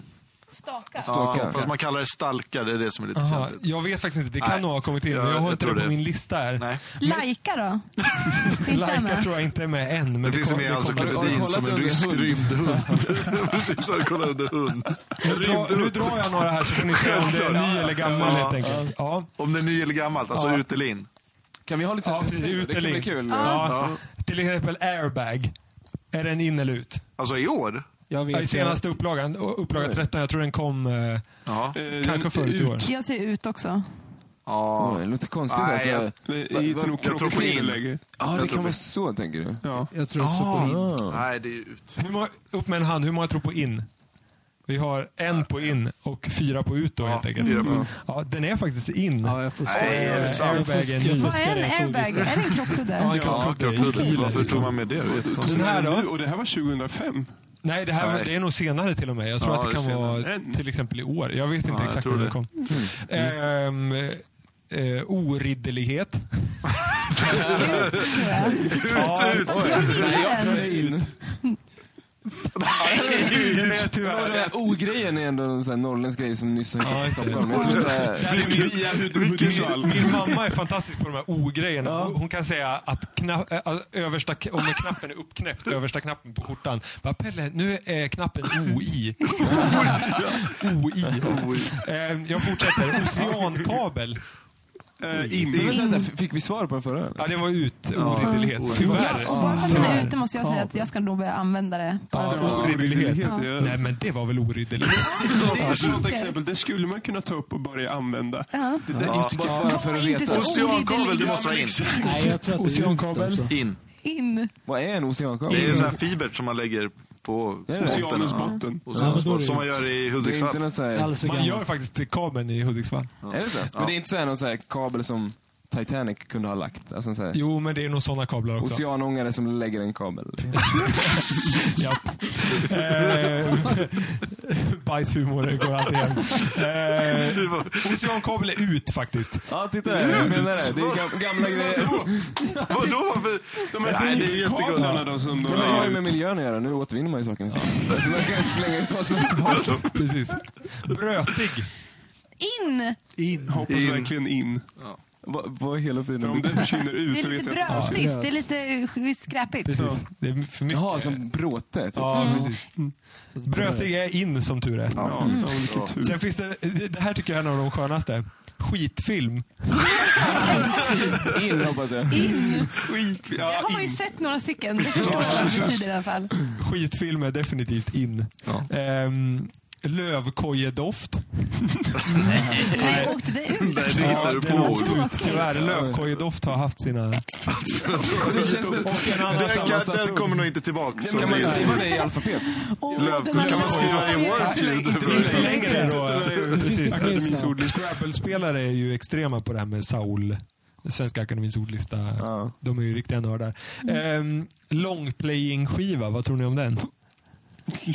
[SPEAKER 4] Staka.
[SPEAKER 2] Ja, fast man kallar det stalka, det är det som är lite
[SPEAKER 5] Aha,
[SPEAKER 2] fjantigt.
[SPEAKER 5] jag vet faktiskt inte, det kan
[SPEAKER 2] Nej.
[SPEAKER 5] nog ha kommit in, men
[SPEAKER 2] Jag-
[SPEAKER 5] jag har
[SPEAKER 2] jag
[SPEAKER 5] inte
[SPEAKER 2] tror
[SPEAKER 5] det på
[SPEAKER 2] det.
[SPEAKER 5] min lista här.
[SPEAKER 2] Nej.
[SPEAKER 4] Lajka då? Inte
[SPEAKER 5] Lajka
[SPEAKER 4] med.
[SPEAKER 5] tror jag inte är med än. Men
[SPEAKER 2] Det finns
[SPEAKER 5] kom-
[SPEAKER 2] med alltså
[SPEAKER 5] kommer-
[SPEAKER 1] Har du
[SPEAKER 2] Klepedin
[SPEAKER 1] kollat
[SPEAKER 2] som en
[SPEAKER 1] under
[SPEAKER 2] rysk
[SPEAKER 1] hund?
[SPEAKER 2] rymdhund. Precis, har du kollat under hund?
[SPEAKER 5] Nu drar, nu drar jag några här så får ni se om det är ny eller gammal helt enkelt. Ja.
[SPEAKER 2] Om det är ny eller gammalt, alltså ut eller in.
[SPEAKER 1] Kan vi ha lite
[SPEAKER 5] Ja, precis. Ut
[SPEAKER 1] det kan
[SPEAKER 5] eller
[SPEAKER 1] bli
[SPEAKER 5] in.
[SPEAKER 1] kul.
[SPEAKER 5] Ja. Till exempel airbag. Är den in eller ut?
[SPEAKER 2] Alltså i år?
[SPEAKER 6] Jag
[SPEAKER 5] I senaste upplagan, upplaga 13, jag tror den kom eh,
[SPEAKER 2] Ja.
[SPEAKER 3] Eh,
[SPEAKER 5] kanske
[SPEAKER 3] jag-
[SPEAKER 5] förut i år.
[SPEAKER 4] Jag ser ut också.
[SPEAKER 2] ja.
[SPEAKER 1] Oj, det låter konstigt
[SPEAKER 2] Nej,
[SPEAKER 1] alltså.
[SPEAKER 2] jag-
[SPEAKER 3] Det är inte nog
[SPEAKER 2] jag tror på in.
[SPEAKER 3] kroppsskivor längre.
[SPEAKER 1] Ja, det
[SPEAKER 2] jag tror
[SPEAKER 1] kan
[SPEAKER 2] på-
[SPEAKER 1] vara så, tänker du?
[SPEAKER 3] Ja.
[SPEAKER 6] Jag tror också
[SPEAKER 5] Ah.
[SPEAKER 6] på in.
[SPEAKER 2] Nej, det är ju ut.
[SPEAKER 5] Hur många, upp med en hand, hur många tror på in? Vi har en på in och fyra på ut då helt enkelt.
[SPEAKER 2] fyra på-
[SPEAKER 5] Ja, den är faktiskt in.
[SPEAKER 6] Ja, jag fuskar.
[SPEAKER 2] Nej, är det
[SPEAKER 6] Jag
[SPEAKER 2] sant?
[SPEAKER 6] fuskar.
[SPEAKER 5] Airbagen
[SPEAKER 6] Jag
[SPEAKER 5] ny.
[SPEAKER 4] Vad
[SPEAKER 6] fuskar,
[SPEAKER 4] är en
[SPEAKER 6] jag såg det
[SPEAKER 4] airbag?
[SPEAKER 6] sen.
[SPEAKER 4] Är det en
[SPEAKER 5] Ja,
[SPEAKER 4] krockkudde?
[SPEAKER 5] en krockkudde.
[SPEAKER 2] Varför tog man med det? Det är jättekonstigt.
[SPEAKER 5] liksom. Den här då?
[SPEAKER 3] Och det här var 2005.
[SPEAKER 5] Nej, det, här,
[SPEAKER 2] Nej.
[SPEAKER 5] det är nog senare till och med. Jag tror
[SPEAKER 2] Ja,
[SPEAKER 5] att det
[SPEAKER 2] det är
[SPEAKER 5] kan vara
[SPEAKER 3] senare.
[SPEAKER 5] till exempel i år. Jag vet inte
[SPEAKER 2] jag
[SPEAKER 5] exakt
[SPEAKER 2] tror
[SPEAKER 5] när det
[SPEAKER 2] det. Mm.
[SPEAKER 5] kom. Ehm, eh, oriddelighet.
[SPEAKER 4] Ut, tror jag.
[SPEAKER 2] Ut, ut!
[SPEAKER 4] Fast jag gillar den.
[SPEAKER 3] Eh,
[SPEAKER 1] in.
[SPEAKER 5] Den är
[SPEAKER 1] Den
[SPEAKER 5] tyvärr...
[SPEAKER 1] där O-grejen är ändå en sån här norrländsk grej som nyss har hittat i Stockholm. Jag tror
[SPEAKER 5] Där
[SPEAKER 1] inte...
[SPEAKER 5] är min-
[SPEAKER 3] Hudiksvall.
[SPEAKER 5] Min, min mamma är fantastisk på de här O-grejerna. Hon, hon kan säga att kna, äh, alltså, översta, k- om knappen är uppknäppt, översta knappen på skjortan. Bara, Pelle, nu är knappen OI. OI. Ehm, Jag fortsätter. Oceankabel.
[SPEAKER 3] Eh, in.
[SPEAKER 1] Men vänta, vänta, fick vi svar på den förra? eller?
[SPEAKER 5] Ja, det var ut. Oriddelighet.
[SPEAKER 4] Ja, och
[SPEAKER 5] Tyvärr.
[SPEAKER 4] bara för att den är ute måste jag säga att jag ska nog börja använda det. Bara för
[SPEAKER 5] Ja,
[SPEAKER 4] att-
[SPEAKER 5] oriddelighet.
[SPEAKER 3] Ja.
[SPEAKER 5] Nej, men det var väl oriddeligt?
[SPEAKER 3] Det är ett sånt exempel. Det skulle man kunna ta upp och börja anveta.
[SPEAKER 4] Ja.
[SPEAKER 3] Det där
[SPEAKER 2] Ja.
[SPEAKER 3] är tycker jag-
[SPEAKER 1] Bara för att
[SPEAKER 4] Var inte
[SPEAKER 1] veta.
[SPEAKER 4] så-
[SPEAKER 2] Oceankabel, du måste ha in.
[SPEAKER 6] Nej, jag tror att det är ut
[SPEAKER 5] Oceankabel.
[SPEAKER 6] alltså.
[SPEAKER 2] In.
[SPEAKER 4] In.
[SPEAKER 1] Vad är en oceankabel?
[SPEAKER 2] Det är ju så här fibert som man lägger på
[SPEAKER 1] Är det?
[SPEAKER 3] Oceanens botten.
[SPEAKER 2] Oceanens
[SPEAKER 6] Ja, men då är det
[SPEAKER 2] botten. Som man
[SPEAKER 6] ut.
[SPEAKER 2] gör i
[SPEAKER 1] Det är inte
[SPEAKER 2] Hudiksvall.
[SPEAKER 1] någon så här...
[SPEAKER 6] Alldeles för
[SPEAKER 5] Man gör
[SPEAKER 6] gammal.
[SPEAKER 5] faktiskt kabeln i Hudiksvall.
[SPEAKER 1] Är det så? Men det är inte så här någon så här kabel som Titanic kunde ha lagt? Alltså en så här
[SPEAKER 5] Jo, men det är nog sådana kablar också.
[SPEAKER 1] oceanångare som lägger en kabel.
[SPEAKER 5] Eh, Bajshumor går alltid hem. Eh, Oceankabel är ut faktiskt.
[SPEAKER 1] Ja, titta där. Jag menar det. Det är gam- gamla grejer.
[SPEAKER 2] Vadå? Varför?
[SPEAKER 3] De här
[SPEAKER 2] Nej, det är
[SPEAKER 3] fiberkablarna då som de
[SPEAKER 1] Det har
[SPEAKER 3] la
[SPEAKER 1] ju med
[SPEAKER 3] ut.
[SPEAKER 1] miljön att göra. Nu återvinner man ju saker nästan. Så man kan slänga ut vad som helst tillbaka.
[SPEAKER 5] Precis. Brötig.
[SPEAKER 4] In!
[SPEAKER 6] In.
[SPEAKER 3] Hoppas
[SPEAKER 2] In.
[SPEAKER 3] verkligen in.
[SPEAKER 1] Vad vad i hela
[SPEAKER 3] För
[SPEAKER 1] friden?
[SPEAKER 3] om det försvinner
[SPEAKER 4] Det
[SPEAKER 3] ut
[SPEAKER 4] är
[SPEAKER 3] då
[SPEAKER 4] lite
[SPEAKER 3] vet jag
[SPEAKER 4] brötigt. Det är lite skräpigt.
[SPEAKER 5] Precis. Mm. Det är för mycket.
[SPEAKER 1] Jaha, som bråte? Typ.
[SPEAKER 5] Ja, precis. Brötig är in som tur är.
[SPEAKER 3] Ja,
[SPEAKER 1] Mm.
[SPEAKER 3] ja, vilken tur.
[SPEAKER 5] Sen finns det, det här tycker jag är en av de skönaste. Skitfilm.
[SPEAKER 1] In hoppas jag.
[SPEAKER 4] In.
[SPEAKER 3] Skit.
[SPEAKER 4] Jag
[SPEAKER 3] Ja,
[SPEAKER 4] har ju
[SPEAKER 3] in.
[SPEAKER 4] sett några stycken. Det förstår jag vad det betyder i alla fall.
[SPEAKER 5] Skitfilm är definitivt in.
[SPEAKER 1] Ja.
[SPEAKER 5] Ehm, Lövkojedoft.
[SPEAKER 4] Nej, åkte det ut?
[SPEAKER 2] Nej, det hittar du
[SPEAKER 5] den
[SPEAKER 2] på.
[SPEAKER 5] har
[SPEAKER 4] ord.
[SPEAKER 5] ut. Tyvärr, lövkojedoft har haft sina...
[SPEAKER 1] Det känns som
[SPEAKER 5] Och
[SPEAKER 1] ett...
[SPEAKER 5] en annan
[SPEAKER 2] Den,
[SPEAKER 5] samma
[SPEAKER 2] kan, den kommer nog inte tillbaka.
[SPEAKER 1] Kan man skriva det i alfabet?
[SPEAKER 4] Åh,
[SPEAKER 2] Löv,
[SPEAKER 4] den har
[SPEAKER 2] kan man
[SPEAKER 4] löv-
[SPEAKER 2] skriva i Wordfeud?
[SPEAKER 5] Inte längre då.
[SPEAKER 6] Precis.
[SPEAKER 5] Precis.
[SPEAKER 3] Akademins ordlista.
[SPEAKER 5] Scrabble-spelare är ju extrema på det här med Saul. Svenska Akademins ordlista.
[SPEAKER 1] Ja.
[SPEAKER 5] De är ju riktiga nördar. Ehm, Longplaying-skiva, vad tror ni om den?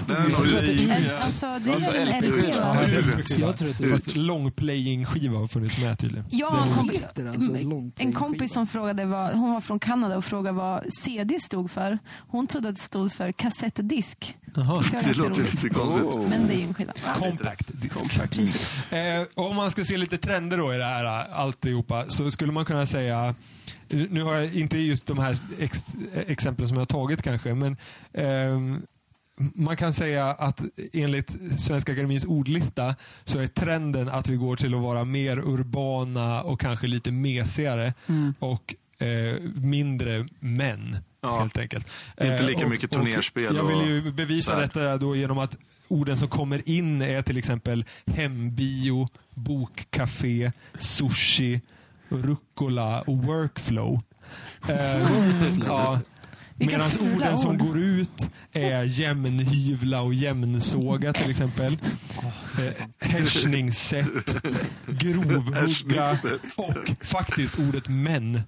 [SPEAKER 2] Den är nog i...
[SPEAKER 4] Eh, Alltså, det
[SPEAKER 1] Alltså,
[SPEAKER 4] är väl en
[SPEAKER 1] LP,
[SPEAKER 4] LP
[SPEAKER 1] ja.
[SPEAKER 4] va?
[SPEAKER 6] Jag tror att det är
[SPEAKER 5] Fast longplaying-skiva har funnits med tydligen.
[SPEAKER 4] Jag har en kompis, Mm.
[SPEAKER 6] heter alltså långplaying-skiva.
[SPEAKER 4] en kompis som frågade vad, hon var från Kanada och frågade vad CD stod för. Hon trodde att det stod för kassettdisk.
[SPEAKER 6] Jaha.
[SPEAKER 4] Det var
[SPEAKER 2] Det
[SPEAKER 4] ganska
[SPEAKER 2] låter
[SPEAKER 4] roligt.
[SPEAKER 2] lite konstigt.
[SPEAKER 1] Oh.
[SPEAKER 4] Men det är ju en skillnad.
[SPEAKER 5] Compact disk. Eh, om man ska se lite trender då i det här eh, alltihopa så skulle man kunna säga nu har jag inte just de här ex, exemplen som jag har tagit kanske, men ehm, man kan säga att enligt Svenska Akademins ordlista så är trenden att vi går till att vara mer urbana och kanske lite mesigare
[SPEAKER 6] Mm.
[SPEAKER 5] och eh, mindre män.
[SPEAKER 2] Ja.
[SPEAKER 5] Helt enkelt. Eh,
[SPEAKER 2] Inte lika
[SPEAKER 5] och-
[SPEAKER 2] mycket
[SPEAKER 5] och
[SPEAKER 2] turnerspel
[SPEAKER 5] Jag
[SPEAKER 2] och
[SPEAKER 5] vill ju bevisa
[SPEAKER 2] så här.
[SPEAKER 5] detta då genom att orden som kommer in är till exempel hembio, bokcafé, sushi, rucola och workflow. Eh, ja.
[SPEAKER 4] Vilka
[SPEAKER 5] Medan
[SPEAKER 4] fula
[SPEAKER 5] orden som
[SPEAKER 4] ord.
[SPEAKER 5] går ut är jämnhyvla och jämnsåga till exempel. Eh, Härsningssätt, grovhugga och faktiskt ordet män.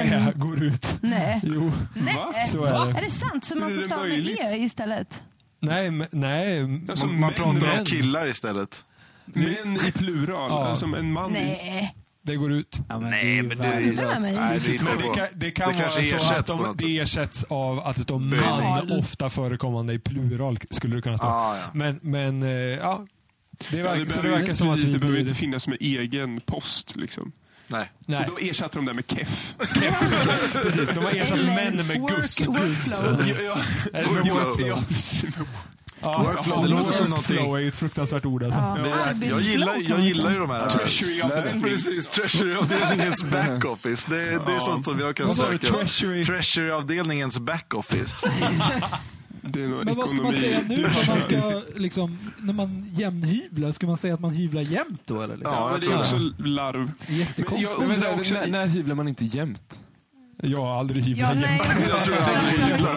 [SPEAKER 5] Män går ut.
[SPEAKER 4] Nej.
[SPEAKER 5] Jo,
[SPEAKER 4] Nej.
[SPEAKER 5] så är det.
[SPEAKER 4] Är det sant? Så man
[SPEAKER 3] Hur
[SPEAKER 4] får
[SPEAKER 3] är det
[SPEAKER 4] stava med
[SPEAKER 3] möjligt?
[SPEAKER 4] E istället?
[SPEAKER 5] Nej, men- nej.
[SPEAKER 3] Alltså,
[SPEAKER 2] Man, man
[SPEAKER 3] män-
[SPEAKER 2] pratar om
[SPEAKER 5] men-
[SPEAKER 2] killar istället.
[SPEAKER 3] Män i plural.
[SPEAKER 5] Ja.
[SPEAKER 3] Alltså en man i...
[SPEAKER 4] Nej.
[SPEAKER 5] Det går ut.
[SPEAKER 6] Ja, men det är ju
[SPEAKER 4] det-
[SPEAKER 6] värdelöst.
[SPEAKER 4] det där med mig.
[SPEAKER 2] Nej, det, är inte
[SPEAKER 5] Men
[SPEAKER 2] bra.
[SPEAKER 5] det kan, det kan
[SPEAKER 2] Det kanske
[SPEAKER 5] vara så
[SPEAKER 2] ersätts
[SPEAKER 5] att
[SPEAKER 2] på
[SPEAKER 5] de,
[SPEAKER 2] något
[SPEAKER 5] det ersätts av att de
[SPEAKER 2] Böjning.
[SPEAKER 5] man ofta förekommande i plural skulle det kunna stå.
[SPEAKER 2] Ah, ja.
[SPEAKER 5] Men, men eh, ja. Det verkar,
[SPEAKER 3] Ja,
[SPEAKER 5] så det
[SPEAKER 3] behöver-
[SPEAKER 5] verkar som att
[SPEAKER 3] precis,
[SPEAKER 5] vi
[SPEAKER 3] det behöver inte
[SPEAKER 5] blir...
[SPEAKER 3] finnas med egen post. Liksom.
[SPEAKER 2] Nej.
[SPEAKER 5] Nej,
[SPEAKER 3] Då ersatte de det med keff.
[SPEAKER 5] precis. De har ersatt män med
[SPEAKER 4] work,
[SPEAKER 5] GUSS.
[SPEAKER 4] workflow.
[SPEAKER 3] Ja, ja.
[SPEAKER 5] Eller med
[SPEAKER 3] Ja,
[SPEAKER 5] workflow.
[SPEAKER 3] ja, precis.
[SPEAKER 5] Ja,
[SPEAKER 2] Workflow, det låter som någonting.
[SPEAKER 5] Workflow är ju ett fruktansvärt ord alltså.
[SPEAKER 4] Ja.
[SPEAKER 2] Det är, jag,
[SPEAKER 4] Arbetsflow,
[SPEAKER 2] gillar,
[SPEAKER 4] kan
[SPEAKER 2] jag
[SPEAKER 4] man
[SPEAKER 2] gillar
[SPEAKER 4] säga.
[SPEAKER 2] ju de här...
[SPEAKER 3] Treasury of the Envy.
[SPEAKER 2] Precis, Treasury-avdelningens backoffice. Det, det är sånt som jag kan
[SPEAKER 5] Vad sa du?
[SPEAKER 2] söka.
[SPEAKER 5] Treasury?
[SPEAKER 2] Treasury-avdelningens backoffice.
[SPEAKER 3] Det är nog
[SPEAKER 6] Men vad ska man
[SPEAKER 3] ekonomi.
[SPEAKER 6] säga nu när man ska liksom, när man jämnhyvlar? Ska man säga att man hyvlar jämnt då eller? Liksom?
[SPEAKER 2] Ja,
[SPEAKER 3] Ja,
[SPEAKER 2] jag
[SPEAKER 3] men det är
[SPEAKER 2] tror
[SPEAKER 3] också larv.
[SPEAKER 6] Jättekonstigt.
[SPEAKER 3] Jag undrar också-
[SPEAKER 1] när, när hyvlar man inte jämt?
[SPEAKER 5] Jag har aldrig hyvlat
[SPEAKER 4] Ja, nej.
[SPEAKER 2] Jag tror jag
[SPEAKER 3] Hyvlar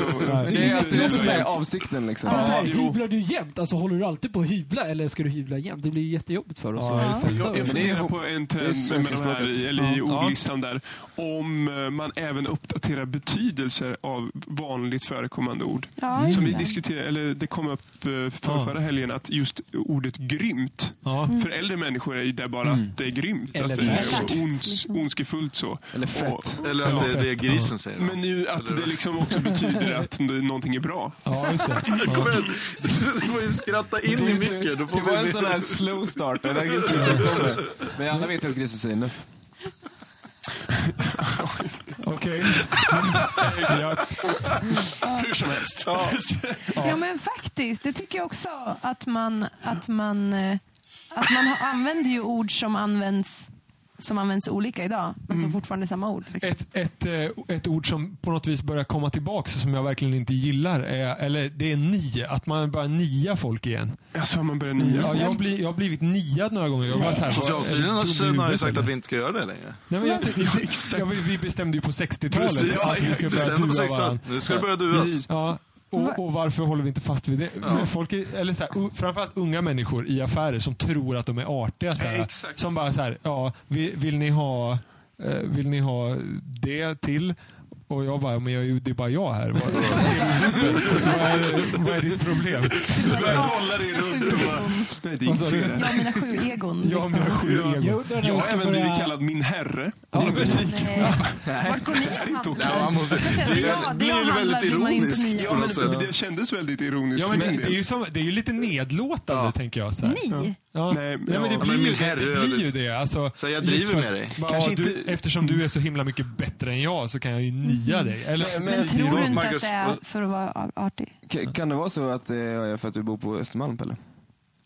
[SPEAKER 3] Och-
[SPEAKER 1] Det är
[SPEAKER 6] det
[SPEAKER 1] alltid
[SPEAKER 6] är
[SPEAKER 1] det som
[SPEAKER 6] så.
[SPEAKER 1] är avsikten liksom.
[SPEAKER 6] Men så här,
[SPEAKER 3] Ja, jo.
[SPEAKER 6] hyvlar du jämt? Alltså håller du alltid på att hyvla eller ska du hyvla jämt? Det blir ju jättejobbigt för oss.
[SPEAKER 5] Ja, just det.
[SPEAKER 3] Jag,
[SPEAKER 1] men
[SPEAKER 3] jag
[SPEAKER 1] det är
[SPEAKER 3] funderar
[SPEAKER 1] ihop-
[SPEAKER 3] på en
[SPEAKER 1] det är
[SPEAKER 3] trend med
[SPEAKER 1] svenska
[SPEAKER 3] de här,
[SPEAKER 1] språket.
[SPEAKER 3] i- eller i
[SPEAKER 1] Ja.
[SPEAKER 3] ordlistan där. Om eh, man även uppdaterar betydelser av vanligt förekommande ord.
[SPEAKER 4] Ja, just
[SPEAKER 3] Som vi
[SPEAKER 4] det.
[SPEAKER 3] diskuterade, eller det kom upp eh, för
[SPEAKER 5] Ja.
[SPEAKER 3] förra helgen, att just ordet grymt.
[SPEAKER 5] Ja.
[SPEAKER 1] Mm.
[SPEAKER 3] För äldre människor är ju det bara att det är grymt.
[SPEAKER 6] Eller
[SPEAKER 3] alltså, det är
[SPEAKER 6] fett.
[SPEAKER 3] ons, ondskefullt så.
[SPEAKER 1] Eller fett.
[SPEAKER 3] Och,
[SPEAKER 2] Eller att det, det är grisen säger. då.
[SPEAKER 3] men nu att
[SPEAKER 2] Eller-
[SPEAKER 3] det liksom också betyder att n- någonting är bra.
[SPEAKER 5] Ja, just det.
[SPEAKER 2] Kom igen, du får ju skratta in i mycket. Då
[SPEAKER 1] Det
[SPEAKER 2] får
[SPEAKER 1] var en
[SPEAKER 2] vi-
[SPEAKER 1] sån här slow start. Den där grisen kommer. Men alla vet ju att grisen säger nuff.
[SPEAKER 5] Okej.
[SPEAKER 3] Hur som helst.
[SPEAKER 4] Ja men faktiskt, det tycker jag också att man, att man, eh, att man har- använder ju ord som används som används olika idag, men som fortfarande är samma ord. Liksom.
[SPEAKER 5] Ett, ett, eh, ett ord som på något vis börjar komma tillbaka som jag verkligen inte gillar, är, eller det är ni. Att man börjar nia folk igen.
[SPEAKER 3] Alltså, man börjar
[SPEAKER 1] Mm.
[SPEAKER 3] nia.
[SPEAKER 5] Ja, jag, har bli, jag har blivit niad några gånger. Jag var så här,
[SPEAKER 2] Socialstyrelsen
[SPEAKER 5] vad, är du dum
[SPEAKER 2] har- har
[SPEAKER 5] i
[SPEAKER 2] ju
[SPEAKER 5] huvudet,
[SPEAKER 2] sagt
[SPEAKER 5] eller?
[SPEAKER 2] att vi inte ska göra det längre.
[SPEAKER 5] Nej, men jag, tycker- ja, vi, vi bestämde ju på 60-talet
[SPEAKER 2] Precis, ja,
[SPEAKER 5] att vi ska börja
[SPEAKER 2] bestämde på
[SPEAKER 5] dua
[SPEAKER 2] 16.
[SPEAKER 5] varandra.
[SPEAKER 2] Nu ska det börja duas.
[SPEAKER 5] Ja, och, och varför håller vi inte fast vid det? För Folk är, eller så här, u- framförallt unga människor i affärer som tror att de är artiga. Så här,
[SPEAKER 3] Exakt.
[SPEAKER 5] som bara så här, ja, vi- vill ni, ha, eh, vill ni ha det till? Och jag bara, men jag, är ju- det är bara jag här. Vad, vad, är, vad är ditt problem?
[SPEAKER 2] Kolla det runt.
[SPEAKER 3] Nej, det är
[SPEAKER 5] Vad
[SPEAKER 3] inget
[SPEAKER 5] sa du?
[SPEAKER 3] fel.
[SPEAKER 4] Jag och mina sju egon.
[SPEAKER 5] Jag har
[SPEAKER 4] Liksom.
[SPEAKER 5] mina sju
[SPEAKER 6] Jag
[SPEAKER 5] egon.
[SPEAKER 6] undrar när
[SPEAKER 3] Jag
[SPEAKER 6] vi
[SPEAKER 3] har
[SPEAKER 6] ska
[SPEAKER 3] även
[SPEAKER 6] börja...
[SPEAKER 3] blivit kallad min herre.
[SPEAKER 4] Nej. Eh, Vart går ni och handlar?
[SPEAKER 2] Ja, man måste-
[SPEAKER 4] Jag kan säga, Det jag- det jag
[SPEAKER 2] blir
[SPEAKER 4] handlar
[SPEAKER 2] väldigt
[SPEAKER 4] vill man inte
[SPEAKER 2] ironiskt.
[SPEAKER 4] nia.
[SPEAKER 3] Ja, men
[SPEAKER 2] något sätt.
[SPEAKER 3] det kändes väldigt ironiskt.
[SPEAKER 5] Ja, men det,
[SPEAKER 3] för min
[SPEAKER 5] det, är
[SPEAKER 3] del.
[SPEAKER 5] ju som, det är ju lite nedlåtande tänker jag. Så här.
[SPEAKER 4] Ni?
[SPEAKER 5] Ja.
[SPEAKER 3] Nej,
[SPEAKER 5] Nej,
[SPEAKER 3] men-
[SPEAKER 5] men det
[SPEAKER 3] ja,
[SPEAKER 5] blir
[SPEAKER 2] men
[SPEAKER 5] ju
[SPEAKER 2] min
[SPEAKER 5] det.
[SPEAKER 2] herre,
[SPEAKER 5] Det, blir ju
[SPEAKER 2] lite-
[SPEAKER 5] det. Alltså,
[SPEAKER 2] Så jag
[SPEAKER 5] just
[SPEAKER 2] driver
[SPEAKER 5] för att-
[SPEAKER 2] med dig.
[SPEAKER 5] Bara,
[SPEAKER 1] Kanske
[SPEAKER 5] ja, du,
[SPEAKER 1] inte-
[SPEAKER 5] Eftersom du är så himla mycket bättre än jag så kan jag ju nia
[SPEAKER 1] Mm.
[SPEAKER 5] dig. Eller,
[SPEAKER 4] Men tror du inte att
[SPEAKER 2] Marcus,
[SPEAKER 4] det är
[SPEAKER 2] vad-
[SPEAKER 4] för att vara artig?
[SPEAKER 1] K- Kan det vara så att det är för att du bor på Östermalm, Pelle?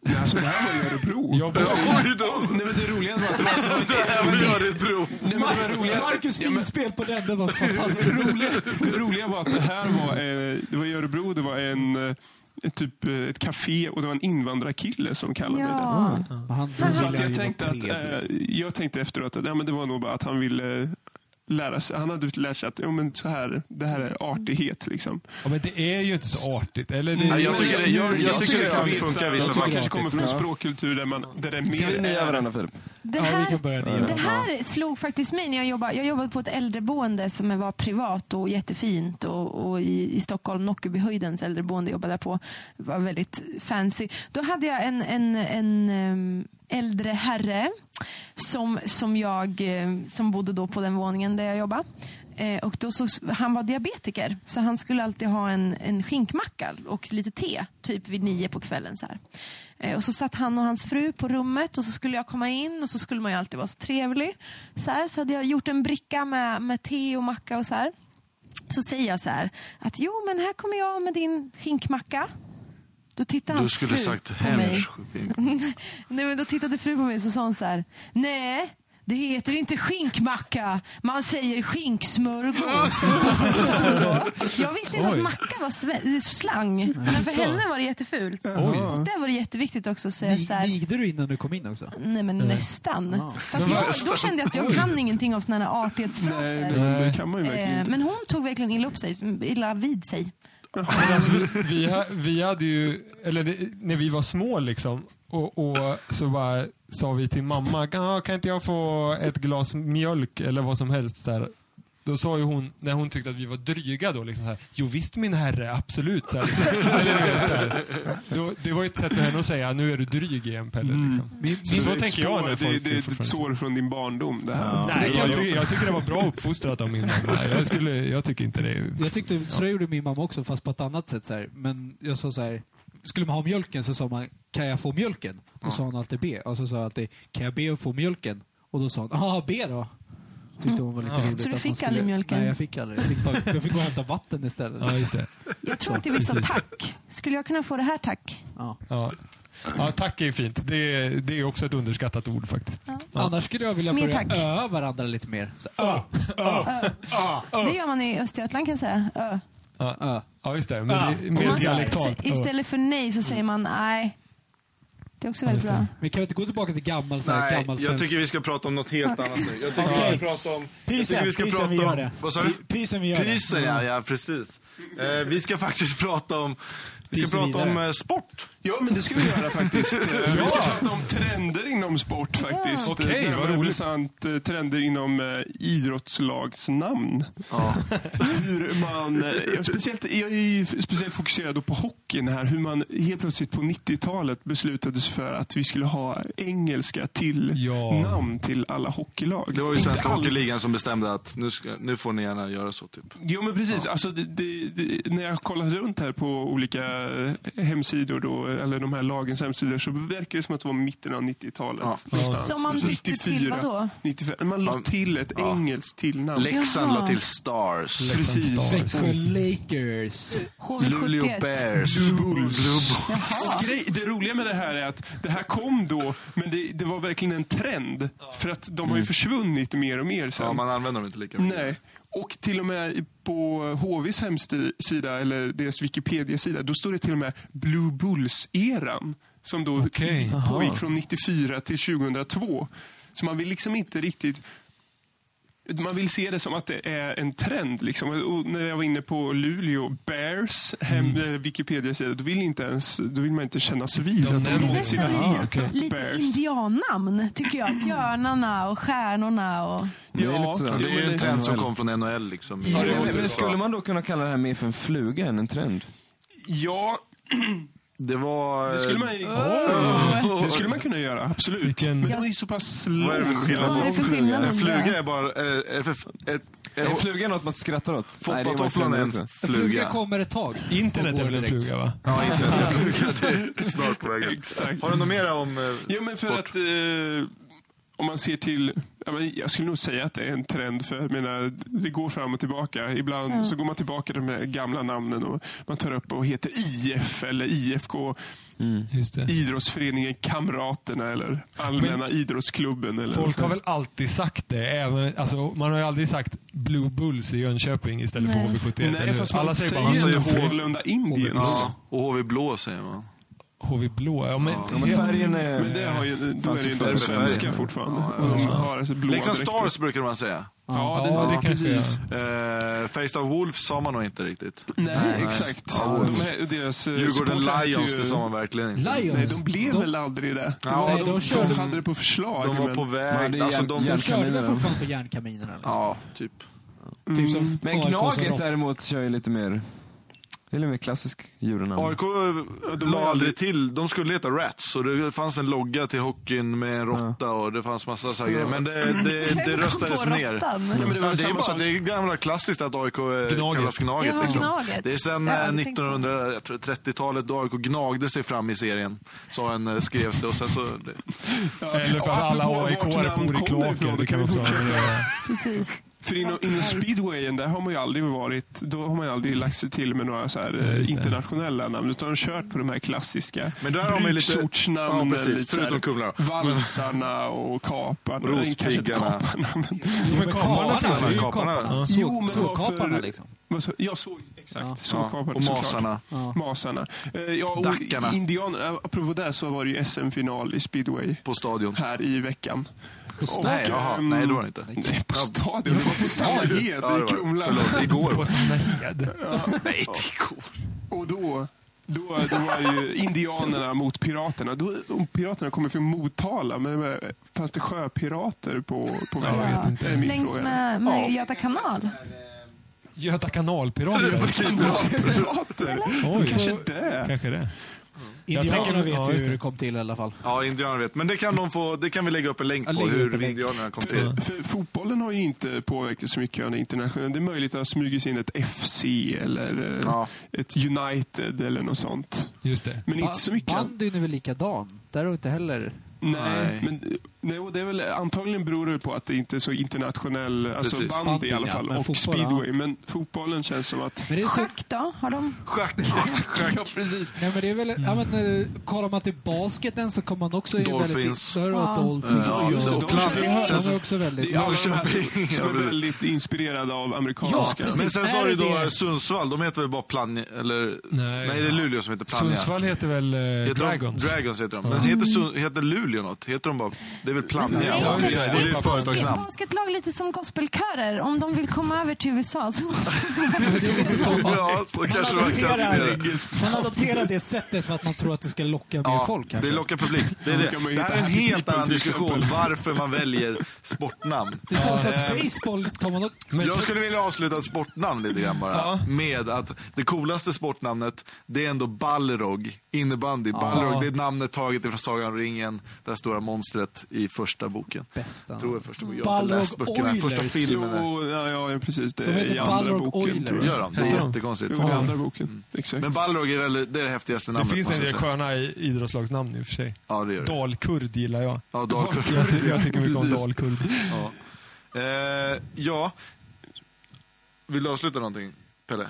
[SPEAKER 3] Nej, alltså, det här var i Örebro.
[SPEAKER 5] jag bara,
[SPEAKER 2] Oj då!
[SPEAKER 3] Nej, men det roliga var att det var,
[SPEAKER 2] Det här var ju Örebro.
[SPEAKER 3] nej, men det var roliga,
[SPEAKER 6] Marcus
[SPEAKER 3] Ja, men-
[SPEAKER 6] minspel på den, det var fantastiskt.
[SPEAKER 3] det roliga, det roliga var att det här var, eh, det var i Örebro, det var en eh, ett Typ eh, ett café och det var en invandrarkille som kallade mig det.
[SPEAKER 4] Ja.
[SPEAKER 6] Han
[SPEAKER 3] Så att jag, tänkte att, eh, jag tänkte efteråt att ja, men det var nog bara att han ville lära sig. Han hade lärt sig att ja, men så här, det här är artighet. Liksom.
[SPEAKER 5] ja, men det är ju inte så artigt. Eller det,
[SPEAKER 2] Nej, jag
[SPEAKER 3] Men
[SPEAKER 2] tycker det- jag- jag
[SPEAKER 3] jag
[SPEAKER 2] tycker det
[SPEAKER 3] att
[SPEAKER 2] kan
[SPEAKER 3] vi-
[SPEAKER 2] funka i vissa
[SPEAKER 3] Man
[SPEAKER 2] fall.
[SPEAKER 3] kanske kommer från en
[SPEAKER 1] Ja. eh,
[SPEAKER 3] språkkultur där, man, där det är
[SPEAKER 1] Ska vi
[SPEAKER 3] mer...
[SPEAKER 1] nia varandra, Filip?
[SPEAKER 4] Det
[SPEAKER 6] Ja, vi
[SPEAKER 4] här,
[SPEAKER 6] kan börja ner.
[SPEAKER 4] det här slog faktiskt mig när jag jobbade. Jag jobbade på ett äldreboende som var privat och jättefint och, och i, i Stockholm, Nockebyhöjdens äldreboende jobbade jag på. Det var väldigt fancy. Då hade jag en, en, en ehm, äldre herre som, som, jag, eh, som bodde då på den våningen där jag jobbade. Eh, och då så, han var diabetiker, så han skulle alltid ha en, en skinkmacka och lite te, typ vid nio på kvällen. Så här. Eh, och så satt han och hans fru på rummet och så skulle jag komma in och så skulle man ju alltid vara så trevlig. Så, här, så hade jag gjort en bricka med, med te och macka och så här. Så säger jag så här, att jo men här kommer jag med din skinkmacka. Då tittar
[SPEAKER 2] Du
[SPEAKER 4] hans
[SPEAKER 2] skulle
[SPEAKER 4] fru
[SPEAKER 2] sagt
[SPEAKER 4] på mig.
[SPEAKER 2] Hellers.
[SPEAKER 4] Nej men då tittade fru på mig och så sa hon så här. Nej, det heter inte skinkmacka. Man säger skinksmörgås. sa hon då. Jag visste inte
[SPEAKER 5] Oj.
[SPEAKER 4] att macka var sve- slang. Men för henne var det jättefult. Och där var det jätteviktigt också att säga så här.
[SPEAKER 6] Nigde du innan du kom in också?
[SPEAKER 4] Nej men nästan. Fast jag, då kände jag att jag kan ingenting av sådana här artighetsfraser.
[SPEAKER 3] Nej, men det kan man ju verkligen
[SPEAKER 4] Eh,
[SPEAKER 3] inte.
[SPEAKER 4] men hon tog verkligen illa upp sig, illa vid sig.
[SPEAKER 5] alltså, vi, vi, ha- vi hade ju, eller det, när vi var små liksom, och, och så bara sa vi till mamma, kan, ja, kan inte jag få ett glas mjölk eller vad som helst där. Då sa ju hon, när hon tyckte att vi var dryga då, liksom så här, jo visst min herre, absolut. Så här, liksom. eller, du vet, så här. Då, det var ju ett sätt för henne att säga, nu är du dryg igen Pelle. Liksom. Så, så
[SPEAKER 3] det är ett
[SPEAKER 5] tänker jag när
[SPEAKER 3] spår,
[SPEAKER 5] folk
[SPEAKER 3] Det, det är ett
[SPEAKER 5] fortfarande-
[SPEAKER 3] sår från din barndom det här.
[SPEAKER 5] Nej, jag, tycker, jag tycker det var bra uppfostrat av min mamma. Jag, skulle, jag tycker inte det. är-
[SPEAKER 6] Jag tyckte, så det gjorde min mamma också, fast på ett annat sätt. Så här. Men jag sa så här, skulle man ha mjölken så sa man, kan jag få mjölken? Då sa hon alltid B. Och så sa jag alltid, kan jag be att få mjölken? Och då sa hon, ja B då. Tyckte hon var lite roligt.
[SPEAKER 4] Så du
[SPEAKER 6] att man
[SPEAKER 4] fick
[SPEAKER 6] skulle-
[SPEAKER 4] aldrig mjölken?
[SPEAKER 6] Nej, jag fick aldrig. Jag fick, bara, jag fick gå och hämta vatten istället.
[SPEAKER 5] Ja, just det.
[SPEAKER 4] Jag tror att det är vissa tack Skulle jag kunna få det här tack?
[SPEAKER 6] Ja.
[SPEAKER 5] Ja. Ja, tack är ju fint. Det är, det är också ett underskattat ord faktiskt.
[SPEAKER 6] Annars skulle jag vilja
[SPEAKER 4] Mer
[SPEAKER 6] börja
[SPEAKER 4] tack.
[SPEAKER 6] öa varandra lite mer. Så,
[SPEAKER 4] Det gör man i Östergötland kan jag säga. Ö.
[SPEAKER 6] ö.
[SPEAKER 5] Ja, just det. Men det är
[SPEAKER 4] Och
[SPEAKER 5] mer
[SPEAKER 4] man, så,
[SPEAKER 5] dialektalt.
[SPEAKER 4] istället för nej så säger
[SPEAKER 3] Mm.
[SPEAKER 4] man nej. Det är också väldigt bra.
[SPEAKER 6] Men kan vi inte gå tillbaka till gammal, så här,
[SPEAKER 2] Nej,
[SPEAKER 6] gammal
[SPEAKER 2] jag tycker vi ska prata om något helt annat nu. Jag tycker vi
[SPEAKER 8] Okej.
[SPEAKER 2] ska prata om... jag tycker
[SPEAKER 8] Pysen,
[SPEAKER 2] vi ska
[SPEAKER 8] pysen
[SPEAKER 2] prata
[SPEAKER 8] vi gör
[SPEAKER 2] om-
[SPEAKER 8] det.
[SPEAKER 2] Vad sa du?
[SPEAKER 8] Py- Pysen vi gör
[SPEAKER 2] Pysen,
[SPEAKER 8] det.
[SPEAKER 2] ja, ja precis. Eh, vi ska faktiskt prata om, vi ska
[SPEAKER 8] Pysen
[SPEAKER 2] prata om
[SPEAKER 8] vidare.
[SPEAKER 2] eh, sport.
[SPEAKER 3] Ja, men det ska vi göra faktiskt. Eh, Vi ska prata om trender inom sport faktiskt.
[SPEAKER 5] Okej, vad
[SPEAKER 3] Närmare
[SPEAKER 5] roligt.
[SPEAKER 3] bestämt, eh, trender inom eh, idrottslagsnamn. hur man, eh, jag, speciellt, jag är ju f- speciellt fokuserad då på hockeyn här. Hur man helt plötsligt på 90-talet beslutade sig för att vi skulle ha engelska till
[SPEAKER 5] Ja.
[SPEAKER 3] namn till alla hockeylag.
[SPEAKER 2] Det var ju
[SPEAKER 3] Inte
[SPEAKER 2] Svenska
[SPEAKER 3] alla-
[SPEAKER 2] Hockeyligan som bestämde att nu, ska, nu får ni gärna göra så typ.
[SPEAKER 3] Jo men precis. Alltså, det, det, det, när jag kollat runt här på olika eh, hemsidor, då, eller de här lagens hemsidor, så verkar det som att det var mitten av 90-talet.
[SPEAKER 2] Ja.
[SPEAKER 3] någonstans.
[SPEAKER 4] Som man bytte till
[SPEAKER 3] 94,
[SPEAKER 4] vadå?
[SPEAKER 3] 95. Man la
[SPEAKER 2] Man-
[SPEAKER 3] till ett
[SPEAKER 2] Ja.
[SPEAKER 3] engelskt tillnamn.
[SPEAKER 2] Leksand
[SPEAKER 4] Jaha.
[SPEAKER 2] la till Stars.
[SPEAKER 3] Precis.
[SPEAKER 6] Växjö Lakers.
[SPEAKER 2] Luleå
[SPEAKER 4] HV71.
[SPEAKER 2] Bears.
[SPEAKER 3] Mm.
[SPEAKER 2] Bulls.
[SPEAKER 3] Och grej, det roliga med det här är att det här kom då, men det, det var verkligen en trend. För att de har ju försvunnit mer och mer sen.
[SPEAKER 2] Mm. Ja, man använder dem inte lika mycket.
[SPEAKER 3] Nej. Och till och med på HVs hemsida, eller deras Wikipedia-sida, då står det till och med Blue Bulls-eran. Som då
[SPEAKER 5] Okej.
[SPEAKER 3] pågick från 94 till 2002. Så man vill liksom inte riktigt... Man vill se det som att det är en trend. Liksom. Och när jag var inne på Luleå Bears hem,
[SPEAKER 5] Mm.
[SPEAKER 3] eh, Wikipedia-sida, då vill, inte ens, då vill man inte kännas vid
[SPEAKER 5] De
[SPEAKER 3] att de
[SPEAKER 5] nämner
[SPEAKER 3] någonsin
[SPEAKER 5] inte.
[SPEAKER 3] har
[SPEAKER 5] Ah,
[SPEAKER 3] hetat
[SPEAKER 5] okej.
[SPEAKER 4] Lite
[SPEAKER 3] Bears.
[SPEAKER 4] indiannamn tycker jag. Björnarna och stjärnorna. Och...
[SPEAKER 1] Det är lite
[SPEAKER 2] Det
[SPEAKER 1] sådär.
[SPEAKER 2] är ju en trend som
[SPEAKER 1] NHL.
[SPEAKER 2] kom från NHL liksom.
[SPEAKER 1] Ja, det men, men skulle man då kunna kalla det här mer för en fluga än en trend?
[SPEAKER 3] Ja,
[SPEAKER 2] Det var... eh,
[SPEAKER 3] det skulle man ju... Det skulle man kunna göra, absolut.
[SPEAKER 5] Vilken-
[SPEAKER 3] Men det var ju så pass
[SPEAKER 2] Vad är det för
[SPEAKER 3] långt.
[SPEAKER 2] skillnad
[SPEAKER 4] Vad är det
[SPEAKER 2] på
[SPEAKER 4] för skillnad?
[SPEAKER 2] En fluga är bara... eh, är för- ett-
[SPEAKER 1] Är en
[SPEAKER 2] ett-
[SPEAKER 1] Eh, fluga något man skrattar åt? Nej, det är bara
[SPEAKER 2] Foppatofflan Eh, är
[SPEAKER 1] trender
[SPEAKER 2] en
[SPEAKER 1] också.
[SPEAKER 6] Fluga.
[SPEAKER 2] fluga.
[SPEAKER 6] kommer ett tag.
[SPEAKER 5] Internet
[SPEAKER 6] Och
[SPEAKER 5] är
[SPEAKER 6] går
[SPEAKER 5] väl en
[SPEAKER 6] direkt.
[SPEAKER 5] fluga, va?
[SPEAKER 2] Ja, inte en fluga. Det är Snart på vägen.
[SPEAKER 3] Exakt.
[SPEAKER 2] Har du något mera om... eh,
[SPEAKER 3] Ja, men för
[SPEAKER 2] Sport.
[SPEAKER 3] att eh, om man ser till, ja, men jag skulle nog säga att det är en trend för jag menar, det går fram och tillbaka. Ibland så går man tillbaka till de här gamla namnen och man tar upp och heter IF eller IFK,
[SPEAKER 5] Just det.
[SPEAKER 3] idrottsföreningen Kamraterna eller Allmänna idrottsklubben. Eller
[SPEAKER 5] Folk
[SPEAKER 3] så.
[SPEAKER 5] har väl alltid sagt det. Även, alltså, man har ju aldrig sagt Blue Bulls i Jönköping istället
[SPEAKER 4] Nej.
[SPEAKER 5] för HV71. eller
[SPEAKER 3] Nej,
[SPEAKER 5] hur?
[SPEAKER 3] fast man
[SPEAKER 5] Alla
[SPEAKER 3] säger,
[SPEAKER 5] säger bara "Alltså,
[SPEAKER 3] ändå
[SPEAKER 5] HV,
[SPEAKER 3] Håvlunda Indians.
[SPEAKER 2] Ja. Och HV Blå säger man.
[SPEAKER 5] HV Blå. Ja, men,
[SPEAKER 1] Ja, men färgen eh, är...
[SPEAKER 3] Men det har ju, då är
[SPEAKER 1] Fanns
[SPEAKER 3] det ju
[SPEAKER 1] ju
[SPEAKER 3] ändå
[SPEAKER 1] förr i
[SPEAKER 3] de svenska
[SPEAKER 2] Sverige.
[SPEAKER 3] fortfarande.
[SPEAKER 2] Ja,
[SPEAKER 3] Och de har alltså blåa
[SPEAKER 1] Liksom
[SPEAKER 2] Leksand
[SPEAKER 3] dräkter.
[SPEAKER 2] Stars brukar man säga.
[SPEAKER 3] Ja, det,
[SPEAKER 5] Ja, det
[SPEAKER 3] ja,
[SPEAKER 5] kanske
[SPEAKER 3] precis.
[SPEAKER 5] är.
[SPEAKER 2] Eh, Färjestad Wolves sa man nog inte riktigt.
[SPEAKER 3] Nej, exakt.
[SPEAKER 2] Ja,
[SPEAKER 3] de här, deras, eh,
[SPEAKER 2] Djurgården
[SPEAKER 3] supportrar hette
[SPEAKER 2] Lions,
[SPEAKER 3] ju-
[SPEAKER 2] det sa man verkligen inte.
[SPEAKER 3] Nej,
[SPEAKER 6] Lions.
[SPEAKER 3] de blev väl aldrig det. det
[SPEAKER 2] Ja,
[SPEAKER 3] var,
[SPEAKER 6] nej,
[SPEAKER 3] de,
[SPEAKER 6] de
[SPEAKER 3] de,
[SPEAKER 6] körde-
[SPEAKER 3] hade det på förslag.
[SPEAKER 2] De var
[SPEAKER 3] men-
[SPEAKER 2] på
[SPEAKER 1] Men det
[SPEAKER 2] väg.
[SPEAKER 1] är
[SPEAKER 2] Alltså, de,
[SPEAKER 1] järn-
[SPEAKER 6] de körde väl
[SPEAKER 1] Järnkaminerna.
[SPEAKER 6] fortfarande på järnkaminerna? Liksom.
[SPEAKER 2] ja, typ.
[SPEAKER 6] Typ som
[SPEAKER 1] Mm. Men
[SPEAKER 6] AIK som
[SPEAKER 1] Gnaget
[SPEAKER 6] rock-
[SPEAKER 1] däremot kör ju lite mer... Det är lite mer klassisk djurnamn.
[SPEAKER 2] AIK eh, de la aldrig till, de skulle heta Rats och det fanns en logga till hockeyn med en råtta och det fanns massa så här grejer. Men det, det, det röstades
[SPEAKER 4] På
[SPEAKER 2] ner.
[SPEAKER 4] råttan.
[SPEAKER 2] Ja, men det,
[SPEAKER 3] var
[SPEAKER 2] var det, är
[SPEAKER 3] samma
[SPEAKER 2] bara,
[SPEAKER 3] sak.
[SPEAKER 2] det är gamla klassiskt att AIK eh,
[SPEAKER 5] Gnaget.
[SPEAKER 2] kallas Gnaget.
[SPEAKER 4] Ja,
[SPEAKER 2] liksom.
[SPEAKER 4] Gnaget.
[SPEAKER 2] Det är sen
[SPEAKER 4] Ja,
[SPEAKER 2] eh,
[SPEAKER 4] jag tänkte-
[SPEAKER 2] 1930-talet då AIK gnagde sig fram i serien. Så en eh, skrevs det och sen så... Det,
[SPEAKER 5] Eller för
[SPEAKER 3] Och
[SPEAKER 5] att alla
[SPEAKER 3] apropå
[SPEAKER 5] AIK är
[SPEAKER 3] vart namn kommer ifrån,
[SPEAKER 5] polikloaker.
[SPEAKER 3] då
[SPEAKER 5] Det kan vi också ha med att
[SPEAKER 3] fortsätta.
[SPEAKER 5] göra.
[SPEAKER 4] Precis.
[SPEAKER 3] För inom, inom speedwayen, där har man ju aldrig varit, då har man ju aldrig lagt sig till med några så här, eh, internationella namn, utan de har kört på de här klassiska
[SPEAKER 2] Men där har man ju lite-
[SPEAKER 3] bruksortsnamnen.
[SPEAKER 2] Ja, precis,
[SPEAKER 3] så här,
[SPEAKER 2] förutom Kumla.
[SPEAKER 3] Valsarna och kaparna. Nej, kanske inte
[SPEAKER 2] Rospiggarna.
[SPEAKER 3] kaparna. Men,
[SPEAKER 5] Jo, men kaparna finns
[SPEAKER 2] kaparna.
[SPEAKER 5] ju.
[SPEAKER 6] Kaparna.
[SPEAKER 3] Jo, men
[SPEAKER 6] Såg- Sågkaparna
[SPEAKER 3] varför-
[SPEAKER 6] liksom.
[SPEAKER 3] vad så, jag såg, exakt.
[SPEAKER 6] Ja.
[SPEAKER 3] Sågkaparna,
[SPEAKER 2] och
[SPEAKER 3] såklart.
[SPEAKER 2] masarna.
[SPEAKER 3] Masarna. Eh, ja, och
[SPEAKER 2] Dackarna.
[SPEAKER 3] Indianerna. eh, Apropå det så var det ju SM-final i speedway
[SPEAKER 2] På stadion.
[SPEAKER 3] här i veckan. Och,
[SPEAKER 2] Nej, jaha.
[SPEAKER 3] ehm,
[SPEAKER 2] Nej, det var det inte.
[SPEAKER 3] Nej, på stadion. Det var på
[SPEAKER 2] Ja,
[SPEAKER 3] Sandahed
[SPEAKER 2] det
[SPEAKER 3] i
[SPEAKER 2] var det.
[SPEAKER 3] Kumla.
[SPEAKER 2] Förlåt, igår.
[SPEAKER 5] På sina hed.
[SPEAKER 2] Nej, det är cool.
[SPEAKER 3] Och då, då, då var det ju indianerna mot piraterna. Då, om piraterna kommer från Motala, men eh, fanns det sjöpirater på, på vägen?
[SPEAKER 5] Jag vet
[SPEAKER 3] Det är min
[SPEAKER 4] Längs
[SPEAKER 3] fråga.
[SPEAKER 4] med, med Göta kanal.
[SPEAKER 5] Göta kanalpirater.
[SPEAKER 3] Pirater?
[SPEAKER 5] Oj.
[SPEAKER 3] Kanske det.
[SPEAKER 5] Kanske det.
[SPEAKER 6] Indianerna
[SPEAKER 5] tänker-
[SPEAKER 6] vet
[SPEAKER 5] ja,
[SPEAKER 6] ju
[SPEAKER 5] just
[SPEAKER 6] hur
[SPEAKER 5] det.
[SPEAKER 6] det kom till i alla fall.
[SPEAKER 2] Ja, indianerna vet. Men det kan, de få, det kan vi lägga upp en länk
[SPEAKER 6] Ja,
[SPEAKER 2] på,
[SPEAKER 6] lägg upp en
[SPEAKER 2] hur
[SPEAKER 6] länk.
[SPEAKER 2] indianerna kom till.
[SPEAKER 3] Eh, För, för fotbollen har ju inte påverkat så mycket av det internationella. Det är möjligt att det har smugits in ett FC eller eh,
[SPEAKER 2] Ja.
[SPEAKER 3] ett United eller något sånt.
[SPEAKER 5] Just det.
[SPEAKER 3] Men
[SPEAKER 6] Ba-
[SPEAKER 3] inte så mycket.
[SPEAKER 6] Bandyn är väl likadan? Där har inte heller...
[SPEAKER 3] Nej,
[SPEAKER 2] Nej.
[SPEAKER 3] men nej, och det är väl, antagligen beror det på att det inte är så internationell, alltså
[SPEAKER 2] Precis.
[SPEAKER 3] bandy i alla
[SPEAKER 6] Bandy,
[SPEAKER 3] fall,
[SPEAKER 6] ja, men
[SPEAKER 3] och
[SPEAKER 6] fotboll,
[SPEAKER 3] speedway. Men fotbollen känns som att...
[SPEAKER 6] Men det är så...
[SPEAKER 4] Schack då? Har de?
[SPEAKER 2] Schack.
[SPEAKER 3] Ja, precis.
[SPEAKER 6] Nej, men det är väl... Ja, men, eh, kollar man till basketen så kommer man också... i en Väldigt,
[SPEAKER 2] Dolphins.
[SPEAKER 6] större
[SPEAKER 4] Ja.
[SPEAKER 6] Dolphins.
[SPEAKER 2] Ja, just det.
[SPEAKER 6] och
[SPEAKER 2] Och
[SPEAKER 6] Dolphins.
[SPEAKER 2] Platt.
[SPEAKER 6] De är också väldigt...
[SPEAKER 3] Det är alla de här som,
[SPEAKER 2] Norrköping,
[SPEAKER 3] som
[SPEAKER 2] ja,
[SPEAKER 3] är
[SPEAKER 2] precis.
[SPEAKER 3] väldigt inspirerade av amerikanska.
[SPEAKER 6] Ja, precis.
[SPEAKER 2] Men sen så
[SPEAKER 6] Är
[SPEAKER 2] har du
[SPEAKER 6] det
[SPEAKER 2] då
[SPEAKER 6] det?
[SPEAKER 2] Sundsvall, de heter väl bara Plannja, eller?
[SPEAKER 5] Nej.
[SPEAKER 2] det är Luleå som heter Plannja.
[SPEAKER 5] Sundsvall heter väl eh,
[SPEAKER 2] Heter de-
[SPEAKER 5] Dragons?
[SPEAKER 2] Dragons heter de. Men heter, Sun, heter Luleå något? Heter de bara... Det är väl Plannja?
[SPEAKER 4] Nej,
[SPEAKER 5] Ja,
[SPEAKER 4] men
[SPEAKER 5] det är- det är
[SPEAKER 4] ett
[SPEAKER 2] ju
[SPEAKER 4] basket-
[SPEAKER 2] företagsnamn.
[SPEAKER 4] basketlag lite som gospelkörer. Om de vill komma över till USA så måste
[SPEAKER 2] Ja, så kanske man kan se det.
[SPEAKER 6] Man adopterar det sättet för att man tror att det ska locka mer
[SPEAKER 2] Ja,
[SPEAKER 6] folk.
[SPEAKER 2] det
[SPEAKER 6] kanske.
[SPEAKER 2] lockar publik. Det är,
[SPEAKER 3] Då
[SPEAKER 2] det.
[SPEAKER 3] kan man ju
[SPEAKER 2] det här är en
[SPEAKER 3] hitta
[SPEAKER 2] helt
[SPEAKER 3] Pippen
[SPEAKER 2] annan
[SPEAKER 3] till
[SPEAKER 2] diskussion, varför man väljer sportnamn.
[SPEAKER 6] Det är så att baseball tar man också...
[SPEAKER 5] Men
[SPEAKER 2] Jag skulle vilja avsluta ett sportnamn lite grann bara.
[SPEAKER 5] Ja.
[SPEAKER 2] Med att det coolaste sportnamnet, det är ändå Balrog. Innebandy. Balrog, det är namnet taget ifrån Sagan om ringen. Det här stora monstret i första boken.
[SPEAKER 6] Bästa.
[SPEAKER 2] Tror jag första boken. Jag har inte
[SPEAKER 6] Balrog
[SPEAKER 2] läst böckerna. Första
[SPEAKER 6] Oilers.
[SPEAKER 2] filmen. är-
[SPEAKER 3] Jo, ja, ja, precis. Det
[SPEAKER 6] De
[SPEAKER 3] är
[SPEAKER 6] heter
[SPEAKER 3] i andra
[SPEAKER 6] Balrog
[SPEAKER 3] boken, tror
[SPEAKER 6] Oilers.
[SPEAKER 2] Gör
[SPEAKER 3] jag.
[SPEAKER 2] de? Det är jättekonstigt.
[SPEAKER 3] Jo, det är andra boken. Exakt.
[SPEAKER 2] Men Balrog är, väl, det är det häftigaste
[SPEAKER 5] Det
[SPEAKER 2] namnet.
[SPEAKER 5] finns en
[SPEAKER 2] måste jag
[SPEAKER 5] del
[SPEAKER 2] säga.
[SPEAKER 5] sköna i- idrottslagsnamn i och för sig.
[SPEAKER 2] Ja, det gör det.
[SPEAKER 5] Dalkurd gillar jag.
[SPEAKER 2] Ja, Dalkurd.
[SPEAKER 5] Jag, ty- jag tycker mycket om
[SPEAKER 3] Precis.
[SPEAKER 5] dalkurd.
[SPEAKER 2] Ja. Eh, ja. Vill du avsluta någonting, Pelle?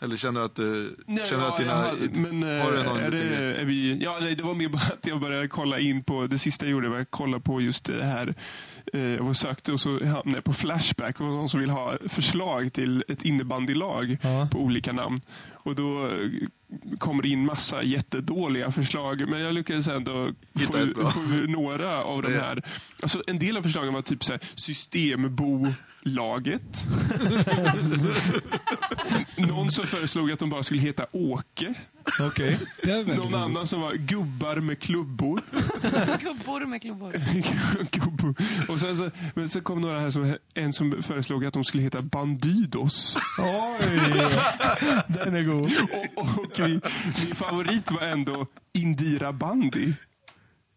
[SPEAKER 2] Eller känner du att du...
[SPEAKER 3] Nej,
[SPEAKER 2] känner du
[SPEAKER 3] ja,
[SPEAKER 2] att dina,
[SPEAKER 3] jag hade- men, eh,
[SPEAKER 2] har du någon
[SPEAKER 3] är
[SPEAKER 2] liten
[SPEAKER 3] det,
[SPEAKER 2] grej?
[SPEAKER 3] är vi, ja, nej, det var mer bara att jag började kolla in på, det sista jag gjorde var att kolla på just det här. Eh, Jag var och sökte och så hamnade jag på Flashback och någon som vill ha förslag till ett innebandylag
[SPEAKER 5] Ja.
[SPEAKER 3] på olika namn. Och då eh, kommer det in massa jättedåliga förslag men jag lyckades ändå få,
[SPEAKER 2] Hitta ett bra.
[SPEAKER 3] få några av de
[SPEAKER 2] Ja.
[SPEAKER 3] här. Alltså, en del av förslagen var typ så här, Systembolaget. Någon som föreslog att de bara skulle heta Åke.
[SPEAKER 5] Okej.
[SPEAKER 6] Det är väl-
[SPEAKER 3] Någon annan som var gubbar med klubbor.
[SPEAKER 4] Gubbor med klubbor.
[SPEAKER 3] Gubbor. Och sen så, men så kom några här som, en som föreslog att de skulle heta Bandidos.
[SPEAKER 5] Oj! Den är god.
[SPEAKER 3] Och, och vi, min favorit var ändå Indira Bandi.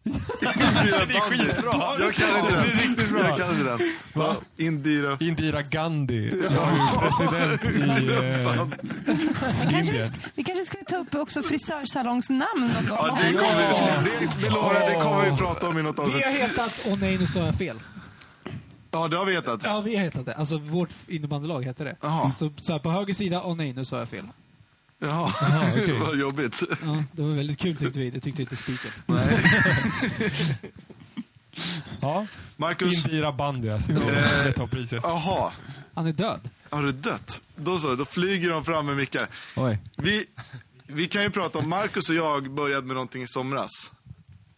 [SPEAKER 2] Det är skitbra! Jag kan inte den. Jag kan inte den. Va? Indira.
[SPEAKER 5] Indira Gandhi var ju president i... Eh,
[SPEAKER 4] Vi kanske, vi,
[SPEAKER 5] Indien.
[SPEAKER 4] sk- vi kanske skulle ta upp också frisörsalongsnamn någon gång.
[SPEAKER 2] Ja, det kommer vi, det, det, lovar jag, det kommer vi prata om i något
[SPEAKER 6] Vi
[SPEAKER 2] avsnitt.
[SPEAKER 6] har hetat... Åh nej, nu sa jag fel.
[SPEAKER 2] Ja, det har vi vetat.
[SPEAKER 6] Ja, vi har hetat det. Alltså vårt innebandylag heter det.
[SPEAKER 2] Jaha.
[SPEAKER 6] Så, så här, på höger sida, åh nej, nu sa jag fel.
[SPEAKER 2] Jaha,
[SPEAKER 5] okej.
[SPEAKER 2] vad jobbigt.
[SPEAKER 6] Ja, det var väldigt kul tyckte vi. Det tyckte inte spiken.
[SPEAKER 5] ja,
[SPEAKER 2] Marcus,
[SPEAKER 5] Indira Bandi alltså. Det tar priset.
[SPEAKER 2] jaha,
[SPEAKER 6] Han är död.
[SPEAKER 2] har du dött? Då så, då flyger de fram med mickar.
[SPEAKER 5] Oj.
[SPEAKER 2] Vi, vi kan ju prata om, Marcus och jag började med någonting i somras.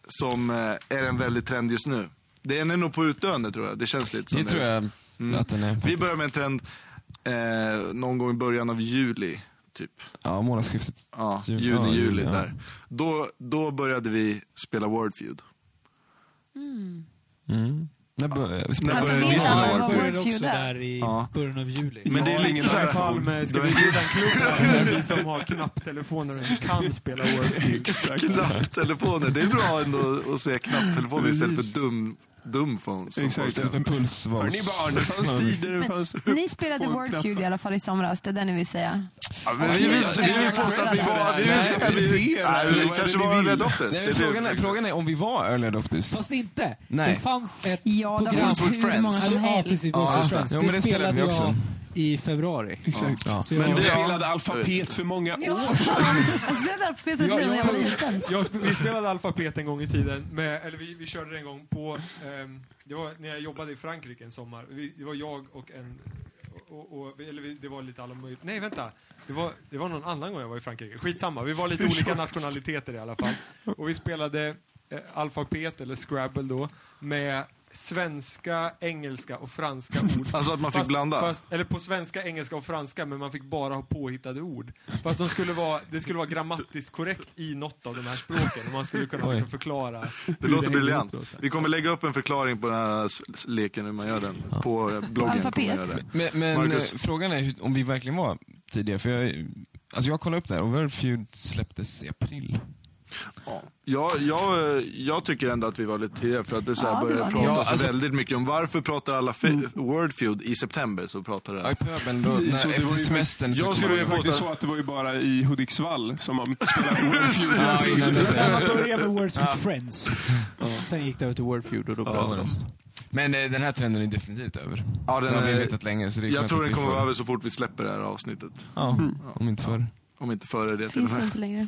[SPEAKER 2] Som eh, är en väldigt trend just nu. Den är nog på utdöende tror jag, det känns lite som
[SPEAKER 8] Det tror jag att den är.
[SPEAKER 2] Vi börjar med en trend eh, någon gång i början av juli. Typ.
[SPEAKER 8] Ja, månadsskiftet.
[SPEAKER 2] Ja,
[SPEAKER 8] Jul-
[SPEAKER 2] juni,
[SPEAKER 8] ja,
[SPEAKER 2] juli,
[SPEAKER 8] juli, ja.
[SPEAKER 2] där. Då, då började vi spela Wordfeud.
[SPEAKER 8] Mm. När bör- spelar-
[SPEAKER 2] När
[SPEAKER 4] Alltså,
[SPEAKER 2] började
[SPEAKER 4] vi
[SPEAKER 2] vi
[SPEAKER 4] alla
[SPEAKER 2] spela
[SPEAKER 4] var-
[SPEAKER 2] Wordfeud?
[SPEAKER 6] Började också
[SPEAKER 4] Feud där.
[SPEAKER 6] där i
[SPEAKER 2] Ja.
[SPEAKER 6] början av juli.
[SPEAKER 2] Men det är lite så här...
[SPEAKER 5] Palme,
[SPEAKER 2] ska vi
[SPEAKER 5] bjuda en klubb här, vi som har knapptelefoner kan spela Warfield?
[SPEAKER 3] Exakt.
[SPEAKER 2] Knapptelefoner, det är bra ändå att säga knapptelefoner istället för dum, dumfons.
[SPEAKER 3] Exakt.
[SPEAKER 8] Puls var
[SPEAKER 3] Hörni barn, det fanns tider. Det fanns...
[SPEAKER 4] Ni spelade Word Feud i alla fall i somras, det är det ni vill säga.
[SPEAKER 2] Ja, men vi vill vi vill påstå att vi var... Vi vill säga att vi, nej, vi kanske var Red Optus.
[SPEAKER 8] Nej, men frågan, är, frågan är om vi var early adopters.
[SPEAKER 6] Fast inte.
[SPEAKER 8] Nej.
[SPEAKER 6] Det fanns ett
[SPEAKER 4] Ja, det
[SPEAKER 6] program.
[SPEAKER 4] finns
[SPEAKER 2] Food
[SPEAKER 4] hur många
[SPEAKER 2] Friends.
[SPEAKER 4] som
[SPEAKER 6] Ja,
[SPEAKER 4] helst.
[SPEAKER 6] precis.
[SPEAKER 8] Ja,
[SPEAKER 6] Boxers
[SPEAKER 8] just det.
[SPEAKER 6] Friends.
[SPEAKER 8] Jo, men det spelade
[SPEAKER 6] spelade
[SPEAKER 8] vi
[SPEAKER 6] jag
[SPEAKER 8] också.
[SPEAKER 6] i februari.
[SPEAKER 3] Exakt.
[SPEAKER 8] Ja.
[SPEAKER 6] Så
[SPEAKER 3] Men
[SPEAKER 6] jag,
[SPEAKER 3] du spelade alfabet för många år
[SPEAKER 4] Jag spelade alfabetet när jag var liten.
[SPEAKER 5] Jag, sp- vi spelade alfabet en gång i tiden, med, eller vi, vi körde det en gång på, ehm, det var när jag jobbade i Frankrike en sommar. Vi, det var jag och en, och, och, och, eller vi, det var lite alla möjliga, nej vänta, det var, det var någon annan gång jag var i Frankrike. Skitsamma, vi var lite olika nationaliteter i alla fall. Och vi spelade eh, alfabet, eller Scrabble då, med svenska, engelska och franska ord.
[SPEAKER 2] Alltså att man fick
[SPEAKER 5] Fast-
[SPEAKER 2] blanda.
[SPEAKER 5] Fast, eller på svenska, engelska och franska, men man fick bara ha påhittade ord. Fast de skulle vara, det skulle vara grammatiskt korrekt i något av de här språken. Och man skulle kunna liksom förklara.
[SPEAKER 2] Det låter briljant. Vi kommer lägga upp en förklaring på den här s- s- leken hur man gör den. På eh, bloggen
[SPEAKER 4] Alfabet.
[SPEAKER 2] kommer jag göra det.
[SPEAKER 8] Men, men eh,
[SPEAKER 2] Marcus.
[SPEAKER 8] frågan är hur- om vi verkligen var tidigare. För jag, alltså jag kollade upp det här och World Feud släpptes i april.
[SPEAKER 2] Jag, jag, eh, jag tycker ändå att vi var lite tidiga för att det så här
[SPEAKER 4] Ja, det
[SPEAKER 2] började
[SPEAKER 4] var det. Mm.
[SPEAKER 2] prata
[SPEAKER 8] Ja,
[SPEAKER 2] så
[SPEAKER 8] alltså-
[SPEAKER 2] väldigt mycket om varför pratar alla fe- Wordfeud i september så pratar
[SPEAKER 8] Ja, i
[SPEAKER 2] det.
[SPEAKER 8] pöbeln då,
[SPEAKER 3] Precis, och
[SPEAKER 8] när,
[SPEAKER 3] det var
[SPEAKER 8] efter
[SPEAKER 3] ju-
[SPEAKER 8] semestern så
[SPEAKER 2] jag
[SPEAKER 8] kom
[SPEAKER 2] skulle
[SPEAKER 8] man
[SPEAKER 3] Det
[SPEAKER 8] ju-
[SPEAKER 3] var faktiskt så att det var ju bara i Hudiksvall som man spelade Warfeud.
[SPEAKER 8] Ja, innan det-
[SPEAKER 6] Man började med Words with Friends. Sen gick det över till Wordfeud och då blev det bäst.
[SPEAKER 8] Men eh, den här trenden är definitivt över.
[SPEAKER 2] Ja,
[SPEAKER 8] Den
[SPEAKER 2] den
[SPEAKER 8] har vi
[SPEAKER 2] är-
[SPEAKER 8] vetat länge så det är
[SPEAKER 2] jag
[SPEAKER 8] skönt
[SPEAKER 2] tror
[SPEAKER 8] att
[SPEAKER 2] den
[SPEAKER 8] vi
[SPEAKER 2] kommer
[SPEAKER 8] får-
[SPEAKER 2] vara över så fort vi släpper det här avsnittet.
[SPEAKER 8] Ja, om inte förr.
[SPEAKER 2] Om inte före det till den
[SPEAKER 4] Finns det
[SPEAKER 2] här.
[SPEAKER 4] inte längre.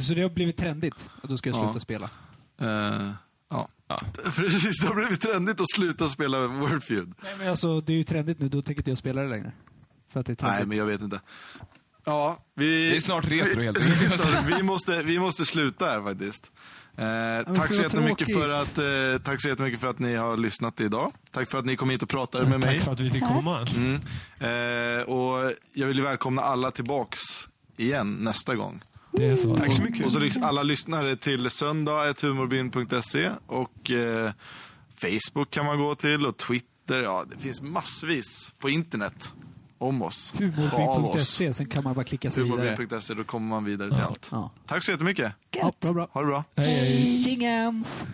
[SPEAKER 6] Så det har blivit trendigt att då ska jag sluta
[SPEAKER 2] Ja.
[SPEAKER 6] spela.
[SPEAKER 2] Eh, ja. Precis, det har blivit trendigt att sluta spela Wordfeud.
[SPEAKER 6] Nej men alltså, det är ju trendigt nu. Då tänker inte jag spela det längre. För att det är trendigt.
[SPEAKER 2] Nej, men jag vet inte. Ja, vi...
[SPEAKER 8] Det är snart retro helt
[SPEAKER 2] vi,
[SPEAKER 8] enkelt.
[SPEAKER 2] vi, måste, vi måste sluta här faktiskt. Eh, tack, så
[SPEAKER 6] vad
[SPEAKER 2] jättemycket för
[SPEAKER 6] tråkigt.
[SPEAKER 2] att, eh, tack så jättemycket för att ni har lyssnat idag. Tack för att ni kom hit och pratade med mig.
[SPEAKER 5] Tack för att vi fick komma.
[SPEAKER 2] Eh, och jag vill välkomna alla tillbaks igen nästa gång.
[SPEAKER 5] Det är så.
[SPEAKER 3] Tack så mycket.
[SPEAKER 2] Och så liksom alla lyssnare till söndag.humorbyn.se och eh, Facebook kan man gå till och Twitter. Ja, det finns massvis på internet om oss. och av oss.
[SPEAKER 6] Humorbyn.se, sen kan man bara klicka sig vidare.
[SPEAKER 2] Humorbyn.se, E, då kommer man vidare till allt.
[SPEAKER 6] Ja.
[SPEAKER 2] Tack så jättemycket.
[SPEAKER 6] Ja, bra, bra.
[SPEAKER 2] Ha det bra.
[SPEAKER 5] Hej, hej.
[SPEAKER 6] Tjingens!